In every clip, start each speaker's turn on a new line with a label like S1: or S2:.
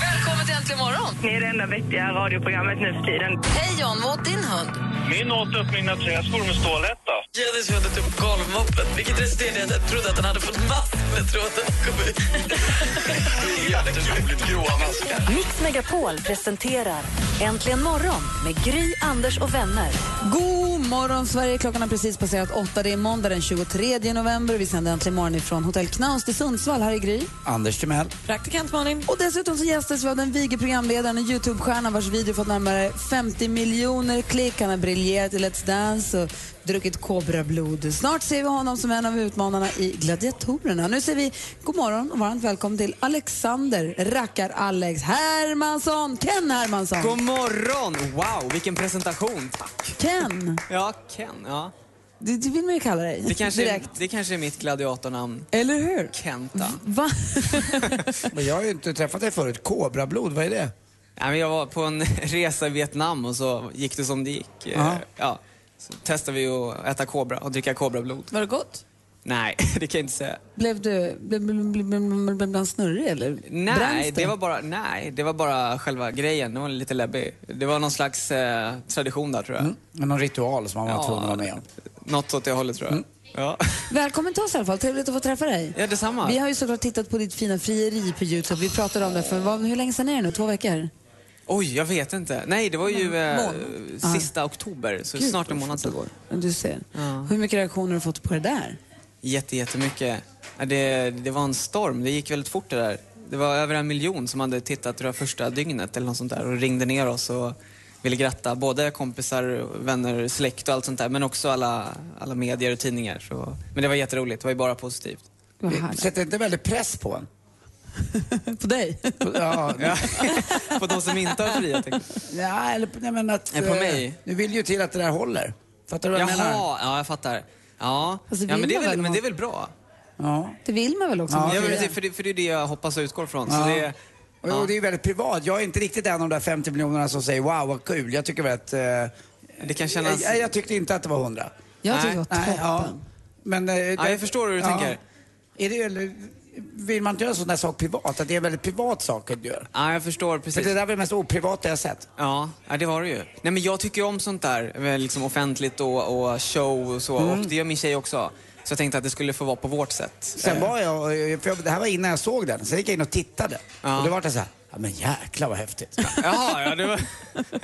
S1: Välkommen till Äntligen morgon!
S2: Ni är det enda vettiga radioprogrammet nu för tiden.
S1: Hej John, vad åt din hund?
S3: Min åt upp mina träskor med stålhätta.
S4: Jenny svindlade upp golvmoppen vilket resulterade i att jag trodde att den hade fått mask med tråden som kom ut.
S3: Jätteroligt gråa maskar.
S5: Mix Megapol presenterar Äntligen morgon med Gry, Anders och vänner.
S6: God morgon, Sverige. Klockan har precis passerat åtta. Det är måndag den 23 november. Vi sänder äntligen morgon ifrån Hotell Knaus till Sundsvall. Här är Gry.
S7: Anders Timell.
S4: Praktikant Malin.
S6: Och dessutom så gästas vi av den vige programledaren och Youtube-stjärnan vars video fått närmare 50 miljoner klick. Han har briljerat i Let's Dance och druckit kobrablod. Snart ser vi honom som en av utmanarna i Gladiatorerna. Nu säger vi god morgon och varmt välkommen till Alexander Rackar-Alex Hermansson. Ken Hermansson.
S7: God morgon! Wow, vilken presentation. Tack.
S6: Ken,
S7: Ja, Ken. Ja.
S6: det, det vill man ju kalla dig.
S7: Det, kanske är,
S6: Direkt.
S7: det kanske är mitt gladiatornamn.
S6: Eller hur?
S7: Kenta.
S6: Va?
S8: Men jag har ju inte träffat dig förut. Kobrablod, vad är det?
S7: Nej, men jag var på en resa i Vietnam och så gick det som det gick. Eh,
S8: Ja.
S7: Ja. Så testade vi att äta kobra och dricka kobrablod.
S4: Var det gott?
S7: Nej, det kan jag inte säga.
S6: Blev du blev blev- blev- blev- blev han snurrig eller
S7: Nej
S6: Bränns du?
S7: det, var bara, nej, det var bara själva grejen. Det var lite läbbig. Det var någon slags eh, tradition där tror jag.
S6: Mm.
S8: Någon ritual som man var tvungen att vara med om.
S7: Något åt det hållet tror jag.
S6: Mm.
S7: Ja.
S6: Välkommen till oss i alla fall. Trevligt att få träffa dig.
S7: ja, detsamma.
S6: Vi har ju såklart tittat på ditt fina frieri på Youtube. Vi pratade om det för vad, hur länge sedan är det nu? Två veckor?
S7: Oj, jag vet inte. Nej, det var ju eh, sista oktober, så
S6: Gud,
S7: snart en
S6: vad
S7: månad
S6: fort det
S7: sedan.
S6: går. Du ser. Hur mycket reaktioner har du fått på det där?
S7: Jätte, jättemycket. Ja, Det, det var en storm, det gick väldigt fort det där. Det var över en miljon som hade tittat det första dygnet eller något sånt där och ringde ner oss och ville gratta. Både kompisar, vänner, släkt och allt sånt där, men också alla, alla medier och tidningar. Så, men det var jätteroligt, det var ju bara positivt.
S6: Vad härligt.
S8: Sätter inte väldigt press på en?
S6: På dig?
S8: Ja,
S7: Ja. På de som inte har friat. tänkte jag.
S8: ja, eller, nej, men att,
S7: Nej, på
S8: eh,
S7: mig.
S8: Nu vill ju till att det där håller. Fattar du vad jag menar?
S7: Jaha, ja jag fattar. Ja,
S6: Alltså,
S7: ja
S6: vill
S7: men, det är
S6: man
S7: väl,
S6: väl
S7: men
S6: ha-
S7: det är väl bra?
S8: Ja.
S6: Det vill man väl också?
S7: Ja,
S6: med
S7: men
S6: frieri?
S7: det, för, det, för det är det jag hoppas och utgår från. Så
S8: Ja.
S7: det,
S8: Och, och det är ju väldigt privat. Jag är inte riktigt en av de där 50 miljonerna som säger wow, vad kul. Jag tycker väl att... eh,
S7: Det kan kännas-
S8: Jag, jag tyckte inte att det var 100.
S6: Jag tycker det var
S7: Nej,
S6: toppen.
S8: Men, eh,
S7: Ja, jag förstår hur du tänker.
S8: Är det, eller, vill man inte göra sådana saker privat? Att det är en väldigt privat sak att göra?
S7: ja, jag förstår
S8: För
S7: precis.
S8: det där var det mest oprivata jag sett.
S7: Ja, ja, det var det ju. Nej, men jag tycker ju om sånt där, väl, liksom offentligt och, och show och så. Och det gör min tjej också. Så jag tänkte att det skulle få vara på vårt sätt.
S8: Sen var jag, för jag, det här var innan jag såg den, sen gick jag in och tittade.
S7: Ja.
S8: Och då var det så här, ja men jäklar vad häftigt.
S7: Jaha, ja det var...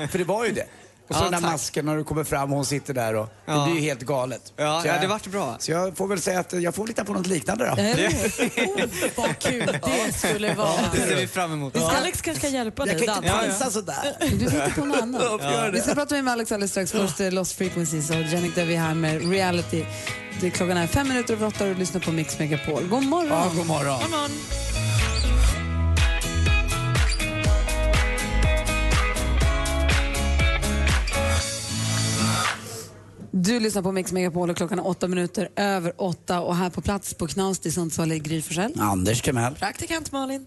S8: för det var ju det. Och så
S7: Ja,
S8: den där
S7: tack.
S8: masken när du kommer fram och hon sitter där och
S7: Ja.
S8: det blir ju helt galet.
S7: Ja,
S8: Så
S7: ja,
S8: jag-
S7: det vart bra.
S8: Så jag får väl säga att jag får lita på något liknande då.
S6: Eller hur? Oh, vad kul det skulle vara.
S7: Det ser vi fram emot.
S4: Alex kanske kan hjälpa
S8: Jag
S4: dig
S8: kan inte
S4: dansa.
S8: dansa sådär.
S6: Du tittar på något annat. Vi ska prata med Alex alldeles strax. Först eh, Lost Frequencies och Jannik där vi är här med Reality. Det är klockan är fem minuter över åtta och du lyssnar på Mix Megapol. God morgon!
S8: Ja, god morgon.
S6: Du lyssnar på Mix Megapol och klockan är åtta minuter över åtta och här på plats på Knaust i Sundsvall är Gry Forssell.
S8: Anders Timell.
S4: Praktikant Malin.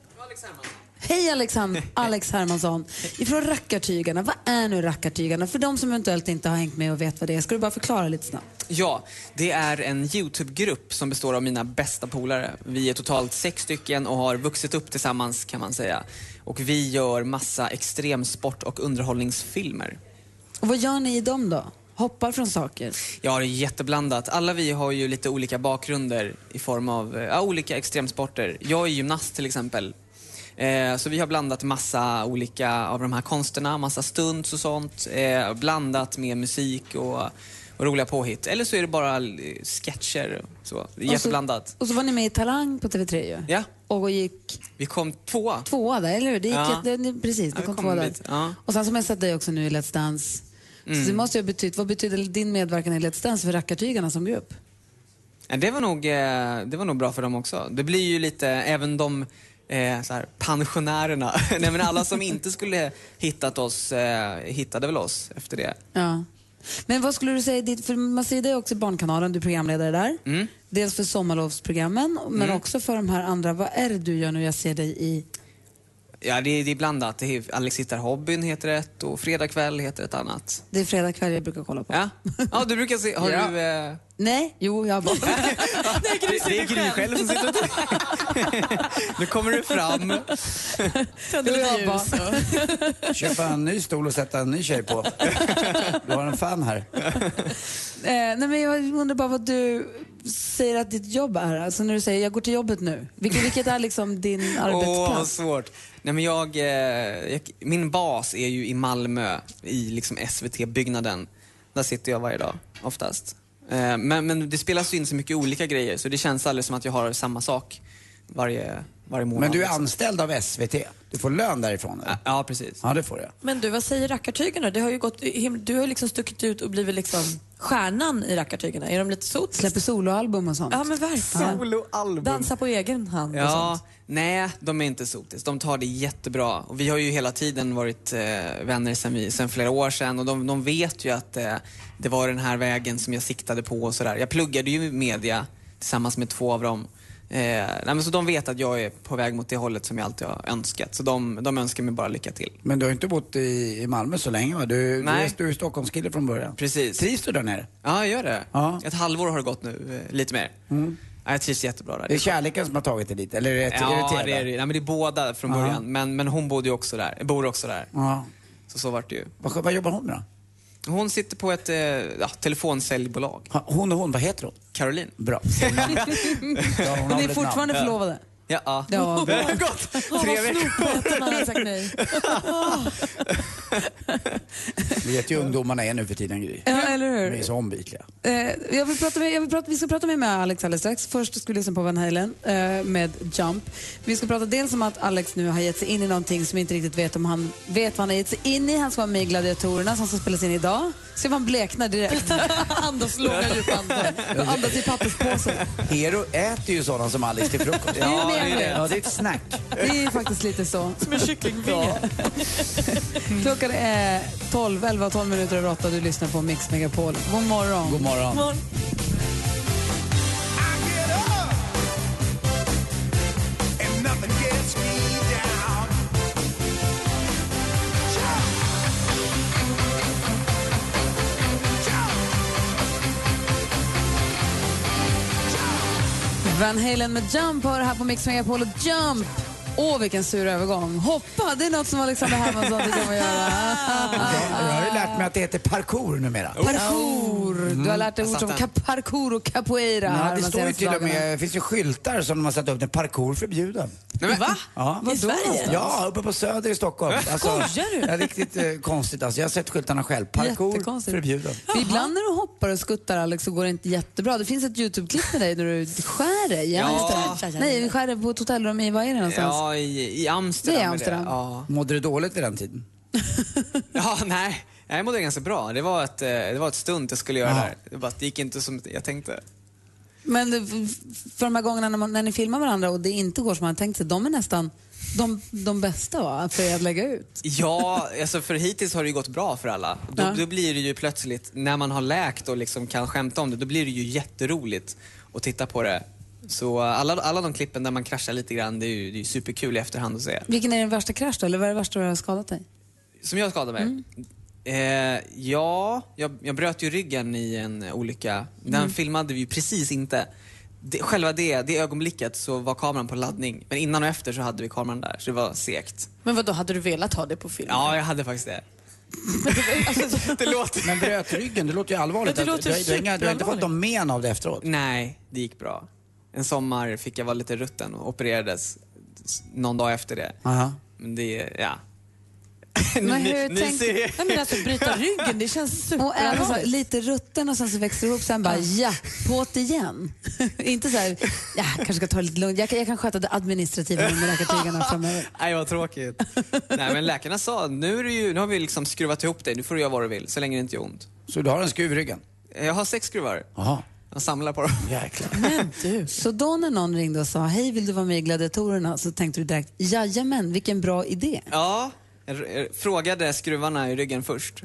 S6: Hej Alexander, Alex Hermansson ifrån Rackartygarna. Vad är nu Rackartygarna? För de som eventuellt inte har hängt med och vet vad det är, ska du bara förklara lite snabbt?
S7: Ja, det är en Youtube-grupp som består av mina bästa polare. Vi är totalt sex stycken och har vuxit upp tillsammans kan man säga. Och vi gör massa extremsport och underhållningsfilmer.
S6: Och vad gör ni i dem då? Hoppar från saker?
S7: Ja, det är jätteblandat. Alla vi har ju lite olika bakgrunder i form av eh, ja, olika extremsporter. Jag är gymnast till exempel. Eh, så vi har blandat massa olika av de här konsterna, massa stunts och sånt. Eh, blandat med musik och, och roliga påhitt. Eller så är det bara eh, sketcher. Så. Det är
S6: Och så-
S7: jätteblandat.
S6: Och så var ni med i Talang på TV3 ju.
S7: Ja,
S6: Och gick
S7: vi kom tvåa.
S6: tvåa där, eller hur? Det gick
S7: Ja.
S6: jätte- det- precis,
S7: Ja,
S6: det
S7: vi
S6: kom
S7: kom
S6: tvåa
S7: en
S6: där.
S7: bit, ja. Mm.
S6: Och sen som jag sett dig också nu i Let's Dance. Så det måste ju ha betytt, vad betyder din medverkan i Let's Dance för rackartygarna som grupp?
S7: Ja, det, var nog, eh, det var nog bra för dem också. Det blir ju lite, även de eh, så här, pensionärerna. Nej, men alla som inte skulle hittat oss eh, hittade väl oss efter det.
S6: Ja. Men vad skulle du säga, är ditt, för man ser dig också i Barnkanalen, du är programledare där.
S7: Mm.
S6: Dels för sommarlovsprogrammen, men
S7: Mm.
S6: också för de här andra. Vad är det du gör nu? Jag ser dig i...
S7: Ja, det, det är blandat. Det är, Alex hittar hobbyn heter ett och Fredag kväll heter ett annat.
S6: Det är fredag kväll jag brukar kolla på.
S7: Ja, ja du brukar se... Har
S6: Ja.
S7: du... Eh,
S6: Nej, jo, jag bara...
S7: Nej, Gry det, det är Gry själv som sitter och... nu kommer du fram.
S6: Jo, jag bara...
S8: Köpa en ny stol och sätta en ny tjej på. Du har en fan här.
S6: Eh, nej, men jag undrar bara vad du säger att ditt jobb är. Alltså när du säger jag går till jobbet nu. Vilket, vilket är liksom din
S7: Åh, vad
S6: arbetsplats?
S7: svårt. Nej, men jag, eh, jag, min bas är ju i Malmö, i liksom SVT-byggnaden. Där sitter jag varje dag, oftast. Eh, men, men det spelas ju in så mycket olika grejer, så det känns aldrig som att jag har samma sak varje, varje månad.
S8: Men du är
S7: liksom.
S8: anställd av SVT. Du får lön därifrån eller?
S7: Ja, precis.
S8: Ja, det får du.
S9: Men du, vad säger rackartygarna? Det har ju gått, him- du har ju liksom stuckit ut och blivit liksom stjärnan i rackartygarna. Är de lite sotis?
S6: Släpper soloalbum och sånt.
S9: Ja, men verkligen.
S7: Soloalbum.
S9: Dansa på egen hand och
S7: Ja,
S9: sånt.
S7: nej, de är inte sotis. De tar det jättebra. Och vi har ju hela tiden varit eh, vänner sen, vi, sen flera år sedan och de, de vet ju att eh, det var den här vägen som jag siktade på och sådär. Jag pluggade ju media tillsammans med två av dem. Eh, nej, men så de vet att jag är på väg mot det hållet som jag alltid har önskat. Så de, de önskar mig bara lycka till.
S8: Men du har inte bott i, i Malmö så länge va? Du, du
S7: Nej.
S8: är, du är Stockholmskille från början.
S7: Precis.
S8: Trivs du där nere?
S7: Ja, jag gör det. Ett halvår har det gått nu, eh, lite mer. Mm. Ja, jag trivs jättebra där.
S8: Det är kärleken som har tagit dig dit, eller är det
S7: Ja,
S8: irriterande?
S7: det är, det. Nej, men det är båda från
S8: Ja.
S7: början. Men, men hon bodde ju också där, bor också där.
S8: Ja.
S7: Så så vart det ju.
S8: Vad, vad jobbar hon med då?
S7: Hon sitter på ett eh, ja, telefonsäljbolag.
S8: Hon och hon, vad heter hon?
S7: Caroline.
S8: Bra.
S6: Och ni är fortfarande förlovade?
S7: Ja. ja.
S6: Ja,
S7: det
S6: bra.
S7: har gått
S6: Åh,
S7: tre
S6: vad
S7: veckor.
S6: snopet om han hade sagt nej.
S8: Vi vet ju hur ungdomarna är nu för tiden, Gry.
S6: Ja, eller hur?
S8: De är så ombytliga.
S6: Eh, jag vill prata med, jag vill prata, vi ska prata mer med Alex alldeles strax. Först ska vi lyssna på Van Halen eh, med Jump. Vi ska prata dels om att Alex nu har gett sig in i någonting som vi inte riktigt vet om han vet vad han har gett sig in i. Han ska vara med i Gladiatorerna som ska spelas in idag. Se vad han bleknar direkt. Andas långa djupandar. Andas i papperspåsen.
S8: Hero äter ju sådana som Alice till frukost.
S6: Ja, det är det.
S8: Ja, det är ett snack.
S6: Det är faktiskt lite så.
S9: Som en kycklingvinge.
S6: Klockan är 12, 11 och 12 minuter över 8 du lyssnar på Mix Megapol. God morgon.
S8: God morgon.
S6: Van Halen med Jump har det här på Mix Megapol och Jump. Åh, vilken sur övergång. Hoppa, det är något som Alexander Hermansson tycker om att göra.
S8: Jag har ju lärt mig att det heter parkour numera.
S6: Parkour. Du
S8: Mm.
S6: har lärt dig ord som ka- parkour och capoeira. här
S8: Ja,
S6: de
S8: det står ju
S6: senaste
S8: till och
S6: dagarna.
S8: med, det finns ju skyltar som de har satt upp där parkour förbjuden.
S7: Va?
S8: Ja.
S9: I Sverige?
S8: Ja, uppe på Söder i Stockholm. Alltså,
S9: Skojar du?
S8: Ja, riktigt eh, konstigt alltså. Jag har sett skyltarna själv. Parkour
S6: Jättekonstigt.
S8: förbjuden.
S6: För Ibland när du hoppar och skuttar Alex så går det inte jättebra. Det finns ett Youtube-klipp med dig när du skär dig.
S7: Ja.
S6: just det. Nej, du skär dig på ett hotellrum i, vad är det någonstans?
S7: Ja, i, i
S6: Det
S7: Amsterdam.
S6: är
S7: är
S6: Amsterdam.
S7: Ja.
S8: Mådde du dåligt vid den tiden?
S7: ja, nej. Nej, Jag mådde ganska bra. Det var ett, eh, det var ett stunt jag skulle göra där. Det, bara, det gick inte som jag tänkte.
S6: Men f- f- för de här gångerna när, man, när ni filmar varandra och det inte går som man har tänkt sig, de är nästan de, de bästa va? för er att lägga ut.
S7: Ja, alltså för hittills har det ju gått bra för alla. Då,
S6: Ja.
S7: då blir det ju plötsligt, när man har läkt och liksom kan skämta om det, då blir det ju jätteroligt att titta på det. Så eh, alla, alla de klippen där man kraschar lite grann, det är ju, det är ju superkul i efterhand att se.
S6: Vilken är din värsta krasch då? Eller vad är det värsta du har skadat dig?
S7: Som jag skadade mig? Eh, ja, jag, jag bröt ju ryggen i en olycka. Den filmade vi ju precis inte. Det, själva det, det ögonblicket så var kameran på laddning. Men innan och efter så hade vi kameran där, så det var segt.
S9: Men vad då hade du velat ha det på film?
S7: Ja, jag hade faktiskt det.
S9: alltså,
S7: det låter...
S8: Men bröt ryggen, det låter ju allvarligt.
S9: Ja, det
S8: Att-
S9: låter
S8: du, har- du, har inga- du har inte fått
S9: superallvarligt.
S8: någon men av det efteråt?
S7: Nej, det gick bra. En sommar fick jag vara lite rutten och opererades s- någon dag efter det.
S8: Aha.
S7: Men det, ja.
S6: Men hur
S7: ni
S6: tänk-
S7: ser...
S9: Nej, men alltså bryta ryggen, det känns
S6: Och även så här,
S9: superallvarligt.
S6: lite rutten och sen så växer det ihop, sen bara ja, på't igen. Inte så här, ja, kanske ska ta det lite lugnt. Jag, kan- jag kan sköta det administrativa med läkartygarna framöver.
S7: Nej, vad tråkigt. Nej, men läkarna sa nu, är det ju, nu har vi liksom skruvat ihop dig, nu får du göra vad du vill, så länge det inte gör ont.
S8: Så du har en skruv i ryggen?
S7: Jag har sex skruvar.
S8: Jaha.
S7: Jag samlar på dem.
S6: Men du. Så då när någon ringde och sa hej, vill du vara med i Gladiatorerna? Så tänkte du direkt, jajamän, vilken bra idé.
S7: Ja, jag r- jag frågade skruvarna i ryggen först.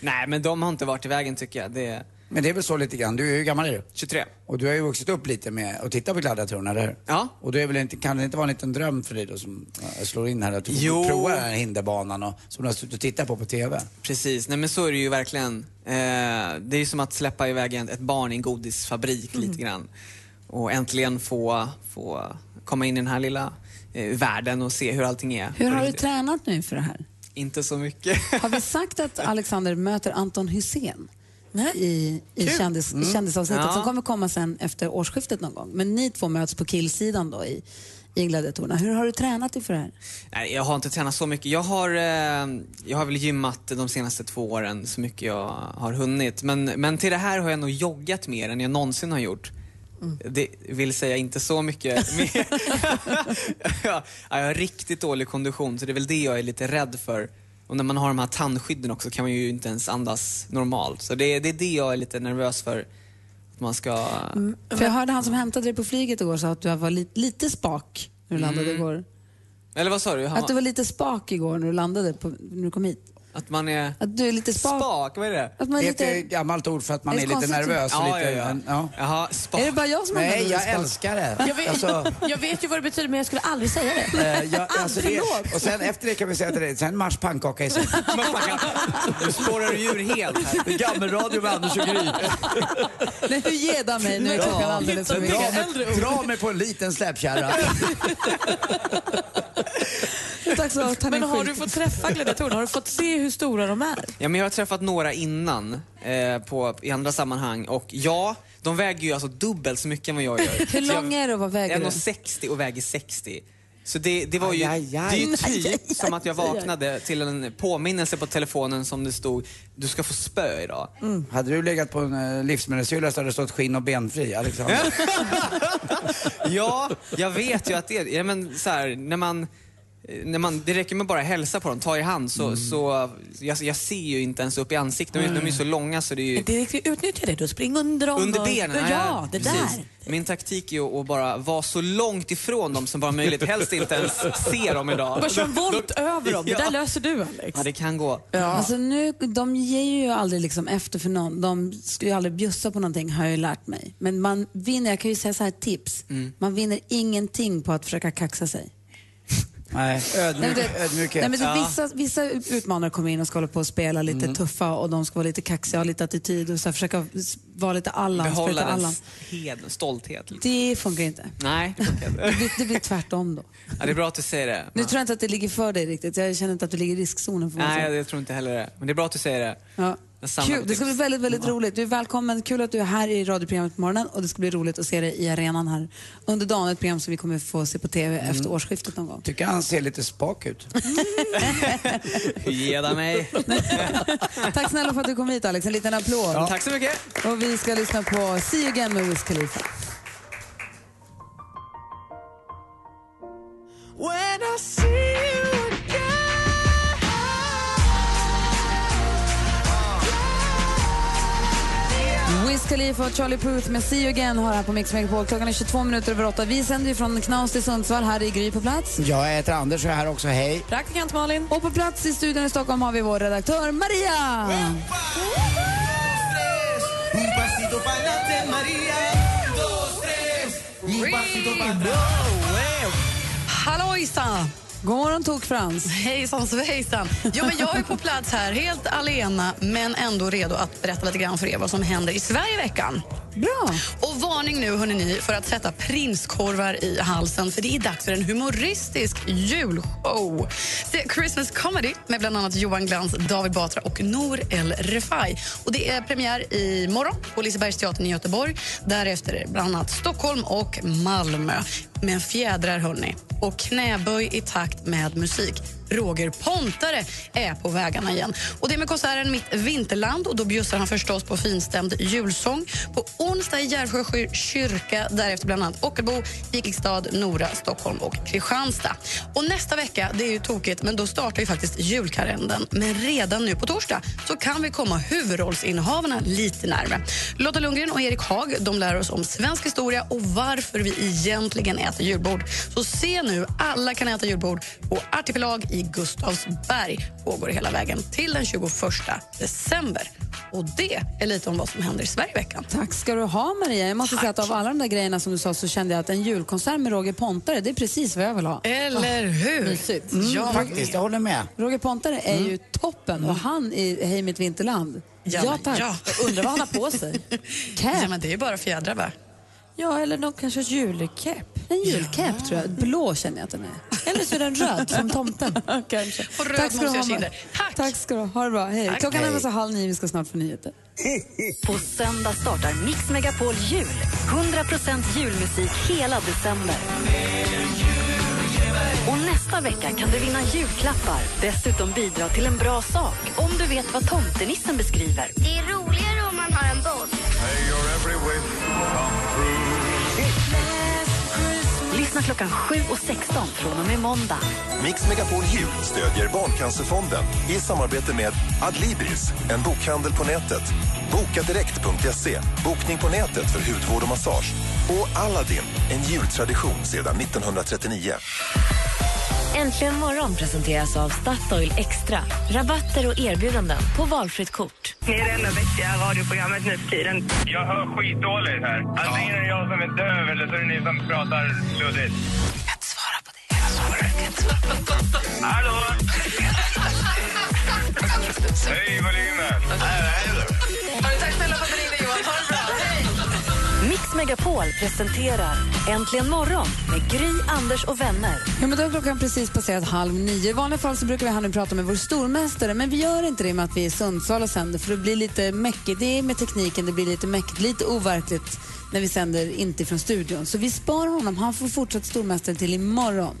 S7: Nej, men de har inte varit i vägen tycker jag. Det är
S8: Men det är väl så lite grann. Du, hur gammal är du?
S7: 23.
S8: Och du har ju vuxit upp lite med att titta på gladiatorerna, eller hur?
S7: Ja.
S8: Och det är väl inte, kan det inte vara en liten dröm för dig då som äh, slår in här att du får
S7: Jo.
S8: prova den här hinderbanan och, som du har suttit och tittat på på TV?
S7: Precis, nej men så är det ju verkligen. Eh, det är ju som att släppa iväg en- ett barn i en godisfabrik
S6: Mm.
S7: lite grann. Och äntligen få, få komma in i den här lilla eh, världen och se hur allting är.
S6: Hur har du tränat nu inför det här?
S7: Inte så mycket.
S6: Har vi sagt att Alexander möter Anton Hussein i, i kändis,
S7: Mm.
S6: kändisavsnittet
S7: Ja.
S6: som kommer komma sen efter årsskiftet någon gång? Men ni två möts på killsidan då i, i Gladiatorerna. Hur har du tränat inför det här?
S7: Nej, jag har inte tränat så mycket. Jag har, eh, jag har väl gymmat de senaste två åren så mycket jag har hunnit. Men, men till det här har jag nog joggat mer än jag någonsin har gjort.
S6: Mm.
S7: Det vill säga inte så mycket mer. ja, jag har riktigt dålig kondition så det är väl det jag är lite rädd för. Och när man har de här tandskydden också kan man ju inte ens andas normalt. Så det, det är det jag är lite nervös för. Att man ska...
S6: För jag hörde han som hämtade dig på flyget igår sa att du var lite, lite spak när du landade
S7: Mm.
S6: igår.
S7: Eller vad sa du? Han-
S6: Att du var lite spak igår när du landade, på, när du kom hit.
S7: att man är...
S6: Att du är lite spak.
S7: Spak, vad är det?
S6: Att man är
S8: det är
S6: lite-
S8: ett eh, gammalt ord för att man
S6: Är
S8: är,
S6: det
S8: lite
S6: konstigt?
S8: nervös och
S7: Ja,
S8: Alltså lite...
S7: ja, ja. Jaha, spak.
S6: Är det bara jag som använder
S8: Nej,
S6: ordet
S8: jag
S6: spak?
S8: älskar det.
S9: Jag vet,
S8: Alltså-
S9: jag vet ju vad det betyder men jag skulle aldrig säga det.
S8: Eh, ja, alltså det,
S9: förlåt.
S8: och sen efter det kan vi säga till dig, sen mars pannkaka i säng.
S7: Nu spårar du ur helt här.
S8: Gammelradio med Anders och Gry.
S6: Nej, hur ger du mig? Nu är klockan alldeles för mycket.
S8: Dra mig på en liten släpkärra.
S6: Tack så mycket.
S9: Men har du fått träffa gladiatorerna? Har du fått se hur stora de är?
S7: Ja, men jag har träffat några innan eh, på, i andra sammanhang och ja, de väger ju alltså dubbelt så mycket än vad jag gör.
S6: Hur lång är du och vad väger du?
S7: 1,60 och väger 60. Så det, det var ju,
S8: Aj, aj, aj.
S7: det är ju
S8: Aj, aj,
S7: typ som att jag
S8: aj.
S7: vaknade till en påminnelse på telefonen som det stod du ska få spö idag.
S8: Hade du legat på en eh, livsmedelshylla så hade det stått skinn och benfri, Alexander.
S7: Ja, jag vet ju att det är ja, men så här, när man, när man, det räcker med bara hälsa på dem, ta i hand
S8: Mm.
S7: så, så jag, jag ser ju inte ens upp i ansiktet. De, de är ju så
S8: Mm.
S7: långa så det är ju...
S9: Det är riktigt- Utnyttja det då. Spring under dem.
S7: Under
S9: och-
S7: benen?
S9: Ja,
S7: ja,
S9: det
S7: precis.
S9: där.
S7: Min taktik är ju att bara vara så långt ifrån dem som bara möjligt. Helst inte ens se dem idag.
S9: Bara kör en volt över dem. Det där löser du Alex.
S7: Ja, det kan gå.
S6: Alltså nu, de ger ju aldrig liksom efter för någon. De skulle ju aldrig bjussa på någonting har jag ju lärt mig. Men man vinner, jag kan ju säga så här tips.
S8: Mm.
S6: Man vinner ingenting på att försöka kaxa sig.
S8: Nej,
S6: Nej,
S8: ödmjuk,
S6: men du-
S8: ödmjukhet.
S6: Nej, men du, vissa, vissa utmanare kommer in och ska hålla på och spela lite
S8: Mm.
S6: tuffa och de ska vara lite kaxiga och ha lite attityd och så här, försöka s- vara lite Allan. spela lite
S7: Behålla den
S6: Allan.
S7: s- heden, stolthet. Liksom.
S6: Det funkar inte.
S7: Nej, det funkar inte.
S6: Det blir, det blir tvärtom då.
S7: ja, det är bra att du säger det.
S6: Nu tror jag inte att det ligger för dig riktigt. Jag känner inte att du ligger i riskzonen för mig.
S7: Nej, jag tror inte heller det. Men det är bra att du säger det.
S6: Ja.
S7: Jag samlar på
S6: Kul. Det ska bli
S7: tips.
S6: väldigt, väldigt roligt. Du är välkommen. Kul att du är här i radioprogrammet på morgonen och det ska bli roligt att se dig i arenan här under dagen. Ett program som vi kommer få se på TV
S7: Mm.
S6: efter årsskiftet någon gång.
S8: Tycker han ser lite spak ut.
S7: Ge dig mig.
S6: Tack snälla för att du kom hit Alex. En liten applåd.
S7: Tack så mycket.
S6: Och vi ska lyssna på See You Again med Wiz Khalifa.
S4: When I see you
S6: Wiz Khalifa och Charlie Puth med See You Again har här på Mix Megapol. Klockan är 22 minuter över 8. Vi sänder ju från Knaus till Sundsvall. Här i Gry på plats.
S8: Jag heter Anders och jag är här också, hej.
S9: Praktikant Malin.
S6: Och på plats i studion i Stockholm har vi vår redaktör Maria.
S4: Un pasito para adelante, María. Dos, tres. Un pasito para
S10: Hallåjsan!
S6: God morgon Tok-Frans.
S10: Hejsan svejsan. Jo, men jag är på plats här, helt alena men ändå redo att berätta lite grann för er vad som händer i Sverige i veckan.
S6: Bra.
S10: Och varning nu hörni ni för att sätta prinskorvar i halsen för det är dags för en humoristisk julshow. The Christmas Comedy med bland annat Johan Glans, David Batra och Nour El Refai. Och det är premiär i morgon på Lisebergsteatern i Göteborg. Därefter är det bland annat Stockholm och Malmö. Men fjädrar hörni och knäböj i takt med musik. Roger Pontare är på vägarna igen. Och det är med konserten Mitt Vinterland och då bjussar han förstås på finstämd julsång på onsdag i Järvsjö sky- kyrka, därefter bland annat Ockelbo, Vikingstad, Nora, Stockholm och Kristianstad. Och nästa vecka, det är ju tokigt, men då startar ju faktiskt julkalendern. Men redan nu på torsdag så kan vi komma huvudrollsinnehavarna lite närmare. Lotta Lundgren och Erik Haag de lär oss om svensk historia och varför vi egentligen äter julbord. Så se nu Alla kan äta julbord på Artipelag i Gustavsberg. Pågår hela vägen till den 21 december. Och det är lite om vad som händer i Sverige i veckan.
S6: Tack ska du ha Maria. Jag måste säga att av alla de där grejerna som du sa så kände jag att en julkonsert med Roger Pontare, det är precis vad jag vill ha.
S10: Eller
S6: Ah,
S10: hur?
S6: Mysigt.
S8: Ja, faktiskt. Jag håller med.
S6: Roger Pontare är ju toppen och han i Hej mitt vinterland.
S10: Ja,
S6: Mm. Ja, tack.
S10: ja.
S6: Jag undrar vad han har på sig. Cap.
S10: Ja, men det är ju bara fjädrar, va?
S6: Ja, eller någon kanske julkepp. En julkepp tror jag. Blå känner jag att den är. Eller så är den röd som tomten. kanske.
S10: Och röd
S6: Tack ska du ha.
S10: mosiakinder.
S6: Tack. Tack ska du ha. Ha det bra. Hej.
S10: Tack.
S6: Klockan är
S10: Hej.
S6: alltså halv nio. Vi ska snart få nyheter.
S5: På söndag startar Mix Megapol Jul. 100% julmusik hela december. Och nästa vecka kan du vinna julklappar. Dessutom bidra till en bra sak om du vet vad tomtenissen beskriver.
S11: Det är roligare om man har en boll.
S5: Lyssna klockan 7 och 16 från och med måndag.
S12: Mix Megapol Jul stödjer Barncancerfonden i samarbete med Adlibris, en bokhandel på nätet, bokadirekt.se, bokning på nätet för hudvård och massage och Aladdin, en jultradition sedan 1939.
S13: Äntligen morgon presenteras av Statoil Extra. Rabatter och erbjudanden på valfritt kort.
S2: Ni är det enda vettiga radioprogrammet nu för tiden.
S3: Jag hör skitdåligt här.
S14: Alltså,
S3: Antingen är det jag som är döv eller så är det ni som pratar luddigt. Hallå! Hej, volymen!
S1: Tack snälla för att du ringde Johan. Ha det bra. Hej!
S5: Mix Megapol presenterar Äntligen morgon med Gry, Anders och vänner.
S6: Ja, men då har klockan precis passerat halv nio. I vanliga fall så brukar vi här nu prata med vår stormästare, men vi gör inte det med att vi är i Sundsvall och sänder, för det blir lite mäckigt. Det är med tekniken, det blir lite mäckigt, lite overkligt när vi sänder inte från studion. Så vi sparar honom. Han får fortsatt stormästare till imorgon.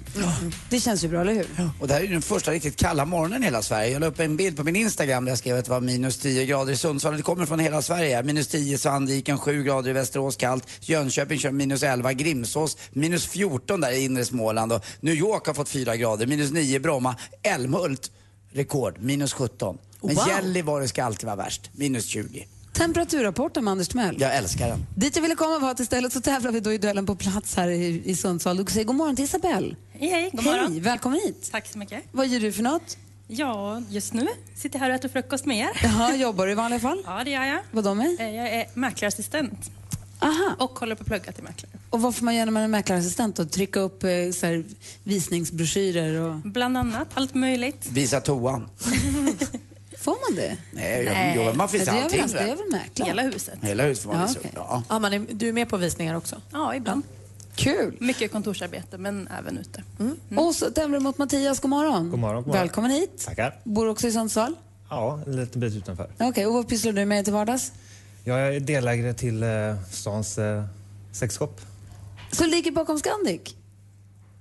S6: Det känns ju bra, eller hur?
S8: Och det här är ju den första riktigt kalla morgonen i hela Sverige. Jag la upp en bild på min Instagram där jag skrev att det var minus 10 grader i Sundsvall. Det kommer från hela Sverige. Minus 10 i Sandviken, 7 grader i Västerås kallt. Jönköping kör minus 11, Grimsås minus 14 där i inre Småland. Och New York har fått 4 grader, minus 9 i Bromma. Älmhult, rekord, minus 17. Men
S6: Wow.
S8: Gällivare ska alltid vara värst, minus 20.
S6: Temperaturrapporten med Anders Timell.
S8: Jag älskar den.
S6: Dit jag ville komma var att istället så tävlar vi då i duellen på plats här i, i Sundsvall. Du säger god morgon till Isabelle.
S14: Hej, hej, god
S6: Hej,
S14: morgon.
S6: välkommen hit.
S14: Tack så mycket.
S6: Vad gör du för något?
S14: Ja, just nu sitter jag här och äter frukost med er.
S6: Jaha, jobbar du i vanliga fall?
S14: Ja, det gör jag.
S6: Vad de är?
S14: Eh, Jag är mäklarassistent.
S6: Aha.
S14: Och håller på att plugga till mäklare.
S6: Och vad får man göra när man är mäklarassistent då? Trycka upp eh, så här, visningsbroschyrer och...
S14: Bland annat, allt möjligt.
S8: Visa toan.
S6: Får man det?
S8: Nej, jag, jo, man finns allting. väl?
S14: mäklare. Hela huset.
S8: Hela huset får man visa upp. Ja.
S9: Ja, man är, du är med på visningar också?
S14: Ja, ibland.
S6: Kul!
S14: Mycket kontorsarbete, men även ute.
S15: Mm.
S9: Mm.
S6: Mm. Och så tävlar du mot Mattias, god morgon.
S15: God morgon, god morgon.
S6: Välkommen hit.
S15: Tackar.
S6: Bor också i Sundsvall?
S15: Ja, en liten bit utanför.
S6: Okej, och vad pysslar du med till vardags?
S15: Jag är delägare till eh, stans eh, sexshop.
S6: Så ligger bakom Scandic?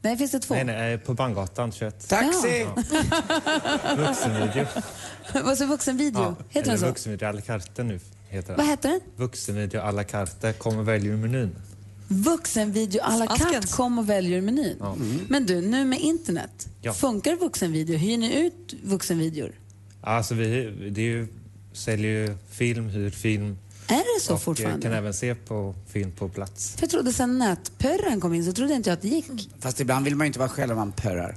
S6: Nej, finns det två?
S15: Nej, nej, eh, på Banggatan 21.
S8: Taxi!
S15: Ja. Vuxenvideo.
S6: Vad så vuxenvideo?
S15: Ja,
S6: Heter
S15: eller
S6: den så?
S15: Vuxenvideo à la carte nu heter den.
S6: Vad heter den?
S15: Vuxenvideo à la carte. Kom och välj ur menyn.
S6: Vuxenvideo à la carte, kom och välj ur menyn.
S15: Ja.
S8: Mm.
S6: Men du, nu med internet,
S15: Ja.
S6: funkar vuxenvideo? Hyr ni ut vuxenvideor?
S15: Alltså, vi det är ju, säljer ju film, hyr film.
S6: Är det så
S15: och, eh,
S6: fortfarande?
S15: kan även se på film på plats.
S6: För jag trodde sen nätpörren kom in så trodde inte jag att det gick.
S8: Fast ibland vill man ju inte vara själv om man pörrar.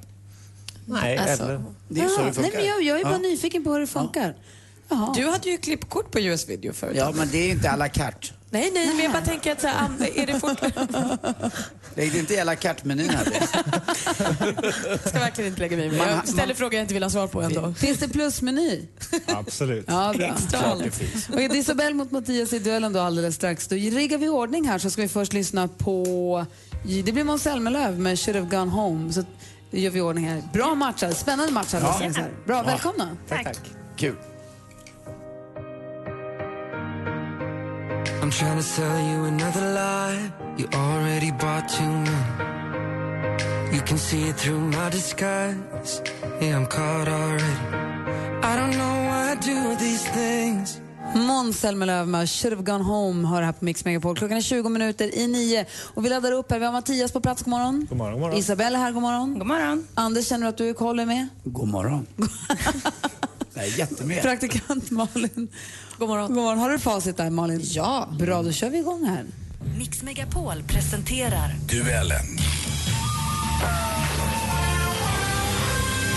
S15: Nej,
S9: Alltså.
S15: eller...
S8: Det är så
S6: Ja,
S8: det funkar.
S6: Ah, Nej, men jag, jag är bara
S8: Ja.
S6: nyfiken på hur det funkar. Jaha.
S9: Du hade ju klippkort på US-video förut.
S8: Ja, men det är ju inte à la carte.
S9: Nej, nej, men jag bara tänker att så här, am- är det fort...
S8: Det är inte i à la carte-menyn här.
S9: Jag ska verkligen inte lägga mig i. men
S8: Man-
S9: Jag ställer frågor jag inte vill ha svar på ändå.
S6: Finns det plusmeny?
S15: Absolut.
S6: Ja, bra.
S9: Extra
S6: Klart
S9: allt.
S6: Och det är Isabel mot Mattias i duellen då alldeles strax. Då riggar vi i ordning här så ska vi först lyssna på... Det blir Måns Zelmerlöw med Should have gone home. Så gör vi i ordning här. Bra match här. Spännande match alldeles
S8: Ja.
S6: strax här. Bra,
S8: Ja.
S6: välkomna.
S8: Tack, tack. Kul.
S16: I'm trying to sell you another lie. You already bought too many. You You can see it through my disguise. Yeah, I'm caught already. I don't know why I do these things.
S6: Måns Zelmerlöw med Should have gone home hör här på Mix Megapol. Klockan är 20 minuter i nio och vi laddar upp här. Vi har Mattias på plats, god morgon.
S8: God morgon, god morgon.
S6: Isabelle är här, god morgon.
S14: God morgon.
S6: Anders, känner du att du är koll med?
S8: God morgon. Det är jättemycket.
S6: Praktikant Malin. God morgon. god morgon. Har du facit där Malin? Ja. Bra, då kör vi igång här.
S5: Mix Megapol presenterar
S17: Duellen.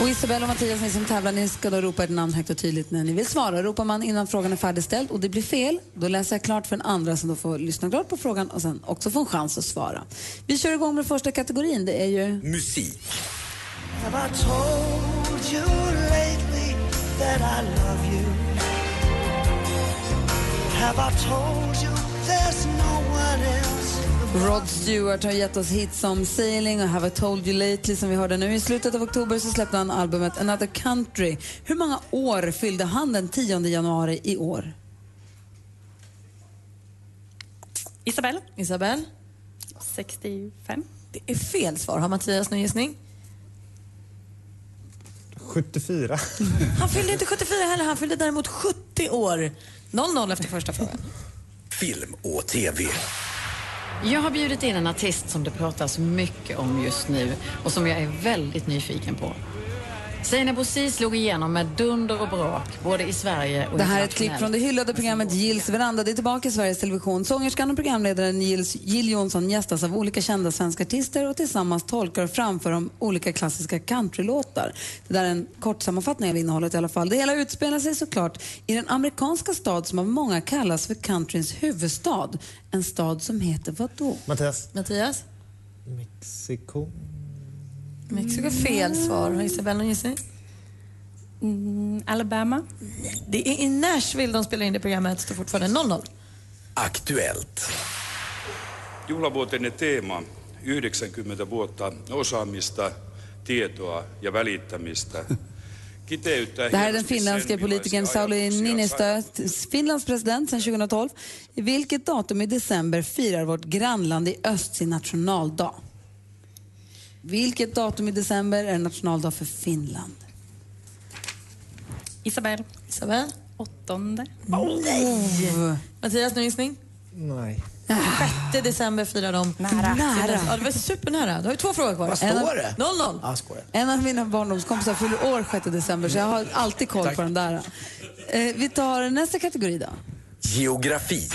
S6: Och Isabella och Mattias, ni som tävlar, ni ska då ropa ert namn högt och tydligt när ni vill svara. Ropar man innan frågan är färdigställd och det blir fel, då läser jag klart för den andra som då får lyssna klart på frågan och sen också får en chans att svara. Vi kör igång med första kategorin, det är ju...
S17: Musik.
S16: Have I told you lately that I love you? Have I told you there's no one else?
S6: Rod Stewart har gett oss hits som Sailing och Have I Told You Lately som vi hörde nu. I slutet av oktober så släppte han albumet Another Country. Hur många år fyllde han den 10 januari i år?
S14: Isabel?
S9: Isabel?
S14: 65.
S9: Det är fel svar. Har Mattias någon gissning?
S15: 74.
S9: Han fyllde inte 74 heller, han fyllde däremot 70 år. 0-0 efter första frågan.
S17: Film och TV.
S18: Jag har bjudit in en artist som det pratas mycket om just nu och som jag är väldigt nyfiken på. Seinabo Bosi slog igenom med dunder och brak, både i Sverige och
S6: Det här är ett klipp från det
S18: internationellt.
S6: hyllade programmet Gills veranda. Det är tillbaka i Sveriges Television. Sångerskan och programledaren Gills, Jill Johnson gästas av olika kända svenska artister och tillsammans tolkar och framför de olika klassiska countrylåtar. Det där är en kort sammanfattning av innehållet i alla fall. Det hela utspelar sig såklart i den amerikanska stad som av många kallas för countryns huvudstad. En stad som heter vad då?
S15: Mattias.
S9: Mattias?
S15: Mexiko.
S9: Mexiko är fel svar. Har Isabel någon gissning?
S14: Alabama.
S9: Det är i Nashville de spelar in det programmet. Står fortfarande 0-0.
S17: Aktuellt.
S19: Juhlavuotinen teema 90 vuotta osaamista, tietoa ja välittämistä kiteyttää
S6: Det här är den
S19: hienosti sen,
S6: finländske politikern Sauli Niinistö, Finlands president sedan 2012. I vilket datum i december firar vårt grannland i öst sin nationaldag? Vilket datum i december är nationaldag för Finland?
S14: Isabel?
S9: Isabel?
S14: Åttonde.
S9: Nej! Mattias, någon gissning?
S15: Nej.
S6: Ah.
S9: 6 december firar de. Nära. Ja, det var supernära. Du har ju två frågor kvar.
S6: Vad står
S9: En av-
S6: det?
S9: 0-0.
S8: Ja, skojar.
S6: En av mina barndomskompisar fyller år 6 december så jag har alltid koll på den där. Eh, vi tar nästa kategori då.
S17: Geografi.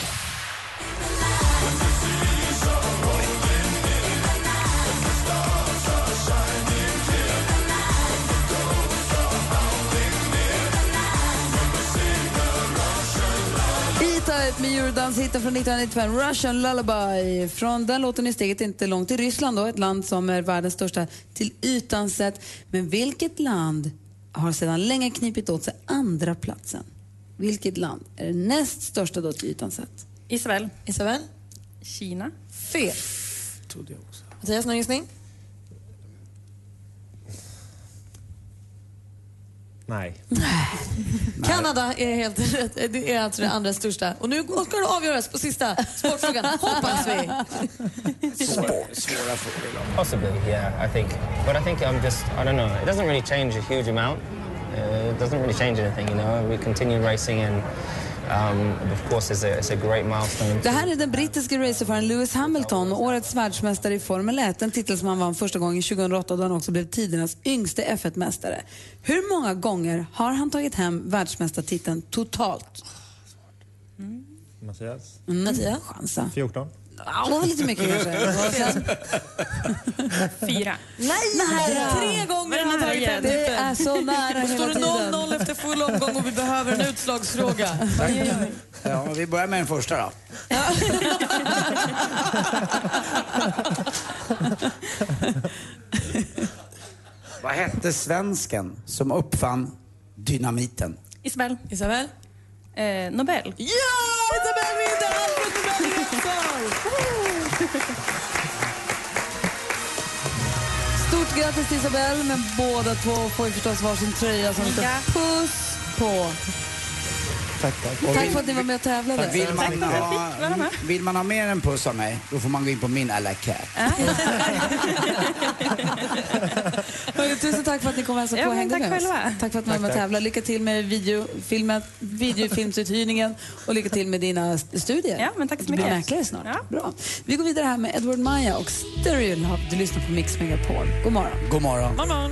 S6: E-Type med Eurodance-hitten från 1995, Russian Lullaby. Från den låten är steget inte långt till Ryssland, då, ett land som är världens största till ytan sett. Men vilket land har sedan länge knipit åt sig andra platsen? Vilket land är det näst största då till ytan sett?
S14: Isabel?
S9: Isabel?
S14: Kina.
S9: Fel. Mattias, någon gissning?
S15: Nej.
S9: Kanada är helt rätt. Det är alltså det andra största. Och nu ska det avgöras på sista sportfrågan, hoppas vi.
S20: Svåra frågor. Possibly, yeah, I think. But I think I'm just, I don't know, it doesn't really change a huge amount. Uh, it doesn't really change anything, you know. We continue racing and um, of course it's a, it's a great milestone.
S6: Det här är den brittiske racerföraren Lewis Hamilton, årets världsmästare i Formel 1. En titel som han vann första gången 2008 då han också blev tidernas yngste F1-mästare. Hur många gånger har han tagit hem världsmästartiteln totalt?
S15: Mattias.
S6: Mm. Mattias? Chansa.
S15: 14.
S6: Det var lite mycket kanske.
S14: Fyra.
S6: Nej!
S9: Tre gånger har han tagit
S6: Det
S9: fem tippen.
S6: är så nära
S9: Då står
S6: hela tiden.
S9: det 0-0 efter full omgång och vi behöver en utslagsfråga.
S8: Ja, vi börjar med den första då. Vad hette svensken som uppfann dynamiten?
S14: Isabel?
S9: Isabel?
S14: Eh, Nobel.
S9: Ja! Isabel vinner Alfred Nobel i Göteborg!
S6: Stort grattis till Isabel, men båda två får ju förstås varsin tröja som det står puss på.
S8: Tack, tack. Och
S6: Tack
S8: vill-
S6: för att ni var med och tävlade.
S8: Tack. Vill,
S6: Tack
S8: man
S6: för att jag
S8: ha,
S6: fick vara med.
S8: vill man ha mer än puss av mig, då får man gå in på min à la carte.
S6: Hörru, tusen tack för att ni kom och hälsade
S21: Ja,
S6: på och
S21: men
S6: hängde
S21: tack
S6: med oss.
S21: själva.
S6: Tack för att ni var
S21: Tack,
S6: med och
S21: tack.
S6: tävlade. Lycka till med videofilmen, videofilmsuthyrningen och lycka till med dina st- studier.
S21: Ja, men tack så
S6: Du blir
S21: mycket.
S6: mäklare snart. Bra. Vi går vidare här med Edward Maja och Stereo Love. Du lyssnar på Mix Megapol. God morgon.
S8: God morgon.